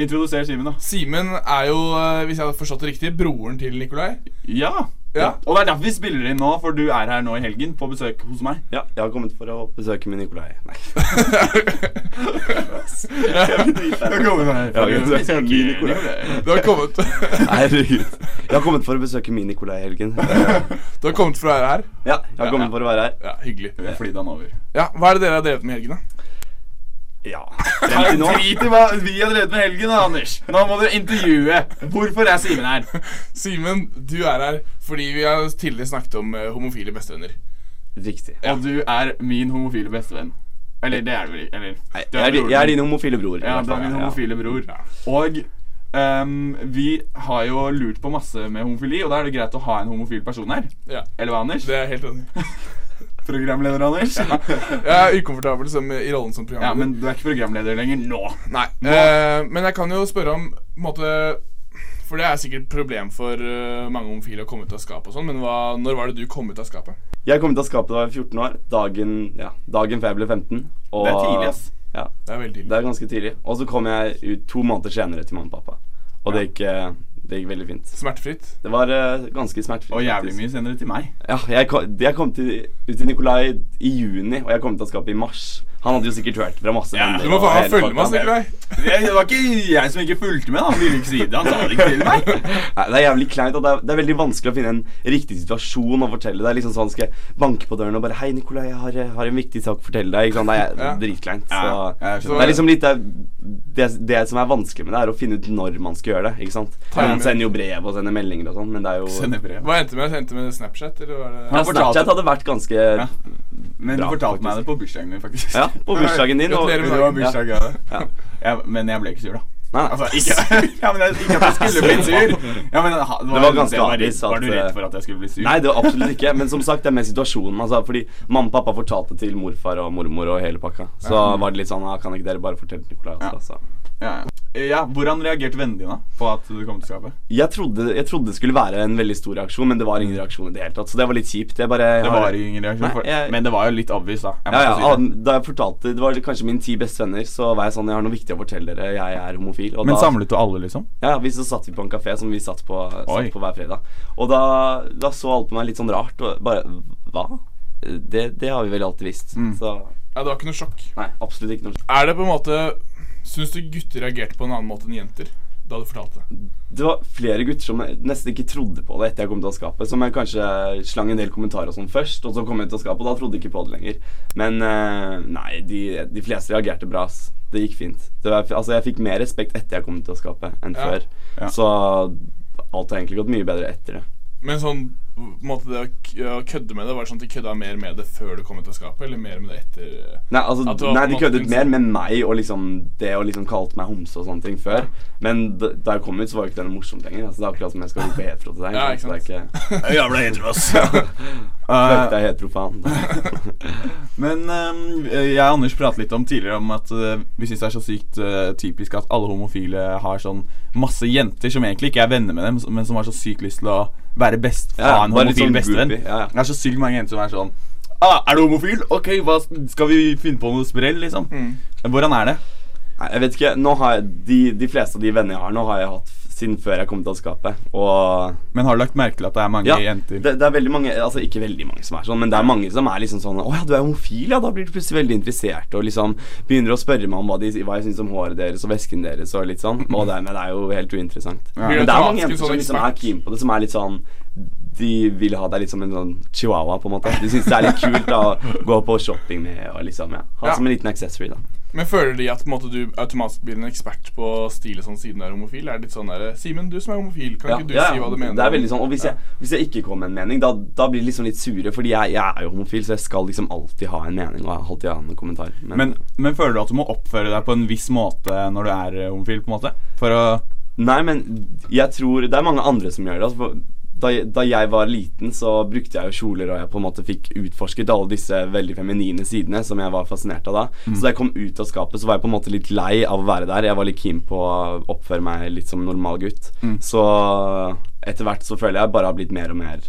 S4: Introduser Simen, da.
S5: Simen er jo, eh, hvis jeg har forstått det riktig, broren til Nikolai.
S4: Ja.
S5: Ja.
S4: Og det er derfor vi spiller inn nå, for du er her nå i helgen på besøk hos meg. Ja, jeg har kommet for å besøke min Nikolai. Nei. Herregud.
S5: Du har kommet, du
S4: Jeg har kommet for å besøke min Nikolai i helgen.
S5: har kommet for å være her.
S4: Ja, jeg har kommet for å være her.
S5: Ja, Hyggelig.
S4: Flydd han over.
S5: Ja, Hva er det dere har drevet med i helgen, da?
S4: Ja. Frem til nå. Drit i hva vi har drevet med helgen, da, Anders. Nå må du intervjue. Hvorfor er Simen her?
S5: Simen, du er her fordi vi har tidligere snakket om eh, homofile bestevenner.
S4: Riktig. Og du er min homofile bestevenn. Eller det er du vel ikke? Eller, du
S11: Jeg er, din,
S4: broren
S11: jeg er
S4: min.
S11: din homofile bror. i
S4: Ja,
S11: hvert
S4: du er
S11: fall,
S4: min
S11: ja.
S4: homofile bror. Og ehm, vi har jo lurt på masse med homofili, og da er det greit å ha en homofil person her.
S5: Ja.
S4: Eller hva, Anders?
S5: Det er jeg helt enig.
S4: Programleder Anders. Ja.
S5: Jeg er ukomfortabel som, i rollen som programleder.
S4: men du er ikke programleder lenger nå.
S5: Nei. eh, men jeg kan jo spørre om på en måte, For det er sikkert et problem for eh, mange homofile å komme ut av skapet og sånn, men hva, når var det du kom ut av skapet?
S11: Jeg kom ut av skapet da jeg var 14 år. Dagen, ja, dagen før jeg ble 15. og-
S4: Det er tidlig, ass.
S11: Ja,
S5: Det er veldig tidlig.
S11: det er ganske tidlig. Og så kom jeg ut to måneder senere til mamma og pappa. Og det gikk, eh, det gikk veldig fint.
S5: Smertefritt.
S11: Det var eh, ganske smertefritt.
S4: Og jævlig
S11: faktisk.
S4: mye senere til meg.
S11: Ja, jeg kom, jeg kom til, ut til Nikolai i juni, og jeg kom ut av skapet i mars. Han hadde jo sikkert hørt fra masse venner.
S4: du må
S11: og
S4: faen meg
S11: hele
S4: følge med oss,
S11: pakka.
S4: Nikolai.
S11: Jeg- Det var ikke jeg som ikke fulgte med. da. Han ville ikke si det. Han sa det ikke til meg. Nei, det er jævlig kleint, og det er, det er veldig vanskelig å finne en riktig situasjon å fortelle. Det er liksom sånn skal jeg banke på døren og bare 'Hei, Nikolai, jeg har, jeg har en viktig sak å fortelle deg.' Ikke sant? Det er
S4: Ja.
S11: dritkleint.
S4: Ja,
S11: Så
S4: jeg skjønner.
S11: det er liksom litt det, det, det som er vanskelig med det, er å finne ut når man skal gjøre det. Ikke sant?
S4: Timing.
S11: Man sender jo brev og sender meldinger og sånn, men det er jo
S4: Hva endte med? Endte med Snapchat? Eller var det
S11: Ja, Snapchat hadde vært ganske
S4: Ja. Men du
S11: bra,
S4: fortalte meg
S11: faktisk.
S4: det på bursdagen din, faktisk.
S11: Ja, på bursdagen din, og-
S4: Gratulerer med dagen.
S11: Ja.
S4: Bursdag, ja.
S11: Ja.
S4: Ja, men jeg ble ikke sur, da.
S11: Nei, nei.
S4: Altså, ikke, ja, men jeg, ikke at jeg skulle bli sur. Ja, men, ha,
S11: det var ganske
S4: det var,
S11: obvious at, eh,
S4: var du redd for at jeg skulle bli sur?
S11: Nei, det var absolutt ikke. Men som sagt, det er mer situasjonen. Altså, fordi mamma og pappa fortalte til morfar og mormor og hele pakka. Så
S4: Ja.
S11: var det litt sånn ah, Kan ikke dere bare fortelle Nicolai også? da?» Så.
S4: Ja, ja. ja, Hvordan reagerte vennene dine på at du kom til skapet?
S11: Jeg trodde, jeg trodde det skulle være en veldig stor reaksjon, men det var ingen reaksjon i det hele tatt. Så det var litt kjipt. Jeg bare,
S4: Det var ingen reaksjon,
S11: Nei,
S4: for-
S11: jeg-
S4: men det var jo litt obvious, da. Jeg
S11: ja, ja,
S4: måtte si det.
S11: ah, Da jeg fortalte Det var kanskje mine ti bestevenner, så var jeg sånn Jeg har noe viktig å fortelle dere. Jeg er homofil. og
S4: Men
S11: da-
S4: samlet du alle, liksom?
S11: Ja, vi så satt vi på en kafé som vi satt på,
S4: Oi.
S11: satt på hver fredag. Og da, da så alle på meg litt sånn rart og bare Hva? Det, det har vi vel alltid visst.
S4: Mm.
S11: Så
S5: Ja, det var ikke noe sjokk.
S11: nei, absolutt ikke noe
S5: Er det på en måte Syns du gutter reagerte på en annen måte enn jenter da du fortalte det?
S11: Det var flere gutter som jeg nesten ikke trodde på det etter jeg kom til å skapet. Som jeg kanskje slang en del kommentarer og sånn først, og så kom jeg til å skapet, og da trodde jeg ikke på det lenger. Men eh, nei, de, de fleste reagerte bra, ass. Det gikk fint. Det var, altså, jeg fikk mer respekt etter jeg kom til å skapet enn
S5: Ja.
S11: før.
S5: Ja.
S11: Så alt har egentlig gått mye bedre etter det.
S5: Men sånn på en måte det å k- å kødde med det, var det sånn at de kødda mer med det før du kom ut av skapet, eller mer med det etter eh,
S11: Nei, altså,
S5: at det var
S11: nei
S5: på en
S11: de
S5: måte
S11: køddet
S5: en-
S11: mer med meg og liksom det å liksom kalte meg homse og sånne ting før. Men d- da jeg kom ut, så var jo ikke det noe morsomt lenger. Altså, det er akkurat som jeg skal rope hetero til deg.
S4: Ja,
S11: så det er
S4: ikke sant? Jævla hetero, ass.
S11: Fuck deg, heterofan.
S4: Men ehm, jeg og Anders pratet litt om tidligere om at eh, vi syns det er så sykt eh, typisk at alle homofile har sånn masse jenter som egentlig ikke er venner med dem, men som har så sykt lyst til å være best
S11: Ja,
S4: ha en
S11: bare litt
S4: homofil
S11: sånn
S4: bestevenn.
S11: groupie, ja, ja.
S4: Det er så sykt mange jenter som er sånn ah, 'Er du homofil? Ok, hva, skal vi finne på noe sprell?' liksom.
S11: Mm.
S4: Hvordan er det?
S11: Nei, jeg vet ikke. Nå har jeg, de, de fleste av de vennene jeg har nå, har jeg hatt f- siden før jeg kom til å skape. Og
S4: Men har du lagt merke til at det er mange
S11: ja,
S4: jenter?
S11: Det, det er veldig mange Altså ikke veldig mange som er sånn, men det er mange som er liksom sånn Å ja, du er homofil, ja. Da blir du plutselig veldig interessert, og liksom begynner å spørre meg om hva, de, hva jeg syns om håret deres og vesken deres og litt sånn. Og det, men det er jo helt uinteressant.
S4: Ja.
S11: Men det er mange
S4: Blir du automatisk en
S11: jenter
S4: sånn
S11: som liksom er
S4: ekspert?
S11: keen på det, som er litt sånn de vil ha deg litt som en sånn chihuahua, på en måte. De syns det er litt kult da, å gå på shopping med og liksom, ja. Ha
S5: Ja.
S11: som en liten accessory, da.
S5: Men føler de at på en måte, du automatisk blir en ekspert på stil og sånn siden du er homofil? Er det litt sånn der Simen, du som er homofil, kan ikke du si hva du mener?
S11: Det er veldig sånn, og hvis,
S5: Ja.
S11: jeg, hvis jeg ikke kommer med en mening, da, da blir de liksom litt sure. Fordi jeg, jeg er jo homofil, så jeg skal liksom alltid ha en mening og alltid ha en kommentar.
S4: Men, men føler du at du må oppføre deg på en viss måte når du er eh, homofil? på en måte? For å
S11: Nei, men jeg tror Det er mange andre som gjør det. Altså, for da, jeg- da jeg var liten, så brukte jeg jo kjoler, og jeg på en måte fikk utforsket alle disse veldig feminine sidene som jeg var fascinert av da.
S4: Mm.
S11: Så da jeg kom ut av skapet, så var jeg på en måte litt lei av å være der. Jeg var litt keen på å oppføre meg litt som en normal gutt.
S4: Mm.
S11: Så etter hvert så føler jeg bare har blitt mer og mer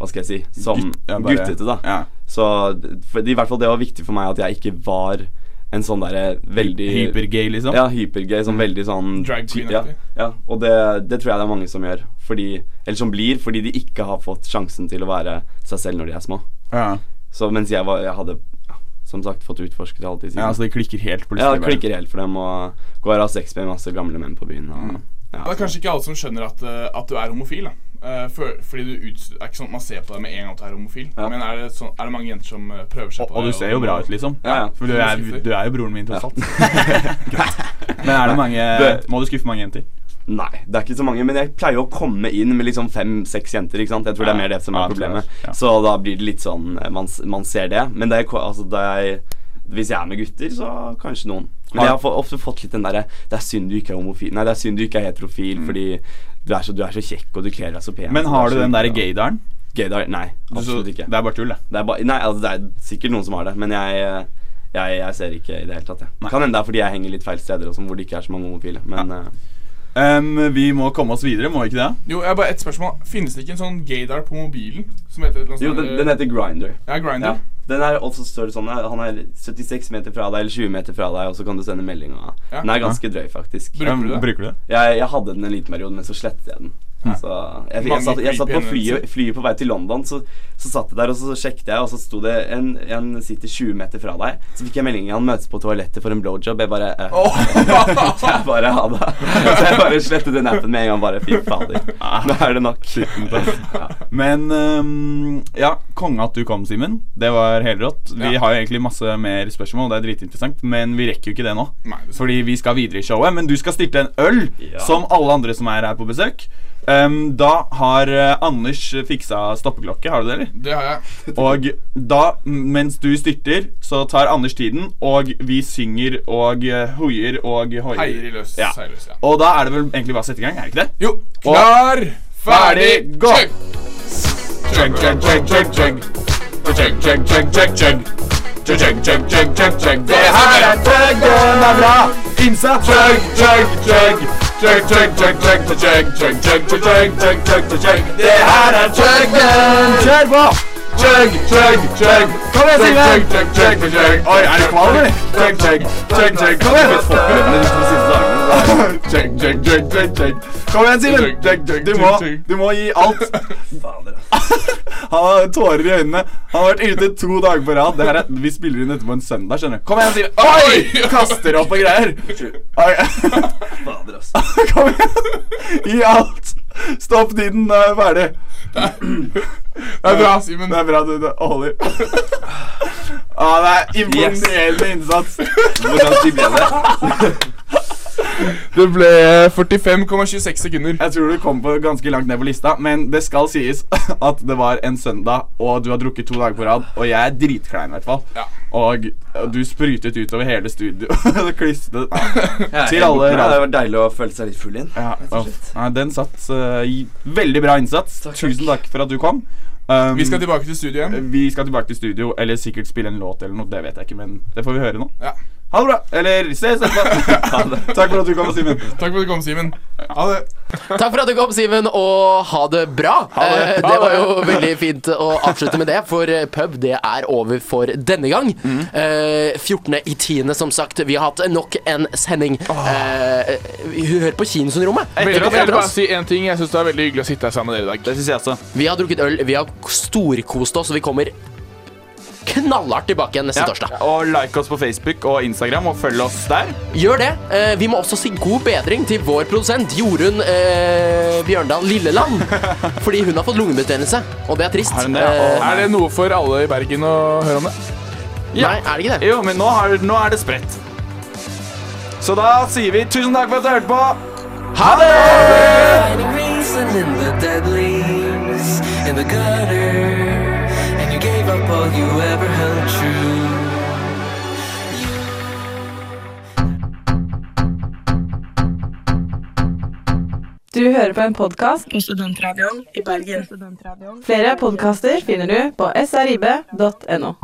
S11: hva skal jeg si som
S4: Gutt- ja, bare-
S11: guttete, da. Så d- for, i hvert fall det var viktig for meg at jeg ikke var en sånn derre veldig
S4: Hypergay, liksom?
S11: Ja, hypergay. Sånn veldig sånn
S4: Drag queen-aktig.
S11: Ja, ja, og det, det tror jeg det er mange som gjør. Fordi, eller som blir, fordi de ikke har fått sjansen til å være seg selv når de er små.
S4: Ja.
S11: Så mens jeg, var, jeg hadde ja, som sagt fått utforsket alle de sidene.
S4: Ja, så Altså, det klikker helt plutselig
S11: Ja, det
S4: bare.
S11: klikker helt for dem, og går og har sex med masse gamle menn på byen. Og, ja,
S5: Det er kanskje ikke alle som skjønner at, eh, at du er homofil. da Eh, for, fordi du ut, det er ikke sånn at Man ser på deg med en gang at du er homofil. Men er det, sånn, er det mange jenter som eh, prøver seg på
S4: Og du
S5: deg,
S4: ser jo bra ut, liksom. For du er, du er jo broren min, tross alt. Men er det mange Må du skuffe mange jenter?
S11: Nei, det er ikke så mange. Men jeg pleier jo å komme inn med liksom fem-seks jenter. ikke sant? Jeg tror det er mer det som
S4: Ja,
S11: er
S4: jeg tror det.
S11: problemet. Så da blir det litt sånn eh, Man, s- man ser det. Men det er, ko- altså, det er, hvis jeg er med gutter, så kanskje noen.
S4: Har-
S11: Men jeg har få- ofte fått litt den derre Det er synd du ikke er homofil Nei, det er synd du ikke er heterofil fordi du er, så, du er så kjekk, og du kler deg så pen.
S4: Mm. Men
S11: og
S4: har
S11: det er
S4: du
S11: så
S4: den
S11: fint,
S4: derre
S11: og-
S4: gaydaren?
S11: Gaydar? Nei,
S4: Du så-
S11: absolutt ikke.
S4: Det er bare tull, det.
S11: er bare- nei, altså, det er sikkert noen som har det, men jeg eh, jeg, jeg ser ikke i det hele tatt. Jeg. Kan hende det er fordi jeg henger litt feil steder og sånn, hvor det ikke er så mange homofile. Men eh,
S4: Em, vi må komme oss videre, må vi ikke det?
S5: Jo, jeg har bare ett spørsmål. Finnes det ikke en sånn gaydar på mobilen? Som heter et eller annet
S11: Jo,
S5: sånn,
S11: den, den
S5: eh,
S11: heter Grinder.
S5: Ja, Grindr.
S11: Den er også står det sånn Han er 76 meter fra deg eller 20 meter fra deg, og så kan du sende melding. Og,
S5: Ja.
S11: Den er ganske drøy, faktisk.
S4: Bruker du det? Bruker du det?
S11: Jeg, jeg hadde den en liten periode, men så slettet jeg den. Så jeg, jeg,
S12: Mange
S11: satt, jeg satt på
S12: creepy
S11: flyet,
S12: hendelser.
S11: flyet på vei til London, så, så satt jeg der og så sjekket jeg, og så sto det en, en sitter 20 meter fra deg. Så fikk jeg melding han møtes på toalettet for en blowjob. Jeg bare eh, Så jeg bare ha det. Så jeg bare slettet den appen med en gang. Bare fy fader. Nå er det nok.
S4: Men ehm, ja, konge at du kom, Simen. Det var helrått. Vi
S11: Ja.
S4: har jo egentlig masse mer spørsmål, det er dritinteressant, men vi rekker jo ikke det nå. Fordi vi skal videre i showet, men du skal stilte en øl, som alle andre som er her på besøk. Ehm, da har eh, Anders fiksa stoppeklokke, har du det, eller?
S5: Det har jeg.
S4: Og da, m- mens du styrter, så tar Anders tiden, og vi synger og eh, hoier og hoier.
S5: Heier i løs,
S4: Ja.
S5: heier i løs, ja.
S4: Og da er det vel egentlig bare å sette i gang, er det ikke det?
S5: Jo.
S4: Og-
S5: Klar, ferdig,
S4: gå!
S5: Check, check, check, check, check. Check, check, check, check, check. Check, check, check, check, check. Det her er tøgg, den er bra. Innsats. Check, check, check. Check, check, check, check, check, check, check, check, check, check, check, check, check. Det her er tøggen. Kjør på. Check, check, check. Kom igjen, Simen. Check, check, check, check, check. Oi, er du kvalm, eller? Check, check, check, check. Kom igjen. Check, check, check, check, check.
S4: Kom igjen, Simen! Du må, du må gi alt. Han har tårer i øynene. Han har vært ute to dager på rad. Det her er, vi spiller inn dette på en søndag, skjønner du. Kom igjen, Simen! Oi! Kaster opp og greier. Oi. Kom igjen. Gi alt. Stopp tiden, nå er jeg ferdig. Det
S5: er bra, Simen.
S4: Det er bra, du. Det holder. Ah, det er imponerende innsats. Hvordan ble det?
S5: Det ble eh, 45,26 sekunder.
S4: Jeg tror du kom på ganske langt ned på lista, men det skal sies at det var en søndag, og du har drukket to dager på rad, og jeg er dritklein i hvert fall. Og og du sprutet utover hele studio. Det klistret
S11: Jeg er
S4: til
S11: helt
S4: alle
S11: borte.
S4: rad.
S11: Det var deilig å føle seg litt full igjen.
S4: Ja, uff. Nei, den satt. eh, i- veldig bra innsats. Tusen takk for at du kom. Um,
S5: Vi skal tilbake til studio igjen.
S4: Vi skal tilbake til studio, eller sikkert spille en låt eller noe. Det vet jeg ikke, men det får vi høre nå.
S5: Ja.
S4: Ha det bra. Eller ses etterpå. Takk for at du kom, Simen.
S5: Takk for at du kom, Simen. Ha det.
S3: Takk for at du kom, Simen, og ha det bra.
S5: det.
S3: Eh,
S5: Ha
S3: det var
S5: det.
S3: jo veldig fint å avslutte med det, for eh, pub det er over for denne gang. Eh, 14. i 10., som sagt. Vi har hatt nok en sending. Eh, hør på Kinosundrommet.
S12: Veldig
S3: Det
S12: bra.
S3: kommer
S12: Jeg vil
S3: etter
S12: bare
S3: oss.
S12: si en ting. Jeg syns det er veldig hyggelig å sitte her sammen med dere i dag.
S4: Det synes jeg også.
S3: Vi har drukket øl, vi har storkost oss, og vi kommer knallhardt tilbake igjen neste
S4: Ja,
S3: torsdag.
S4: Og like oss på Facebook og Instagram, og følg oss der.
S3: Gjør det. Eh, vi må også si god bedring til vår produsent Jorunn eh, Bjørndal Lilleland. Fordi hun har fått lungebetennelse, og det er trist. Eh,
S12: Er det noe for alle i Bergen å høre om det?
S3: Nei, er det ikke det?
S4: Jo, men nå, har, nå er det spredt. Så da sier vi tusen takk for at du hørte på. Ha det!
S13: and in the dead leaves, in the gutter, and you gave up all you ever held true.
S7: Du hører på en podkast på Studentradioen i Bergen. Flere podkaster finner du på srib.no.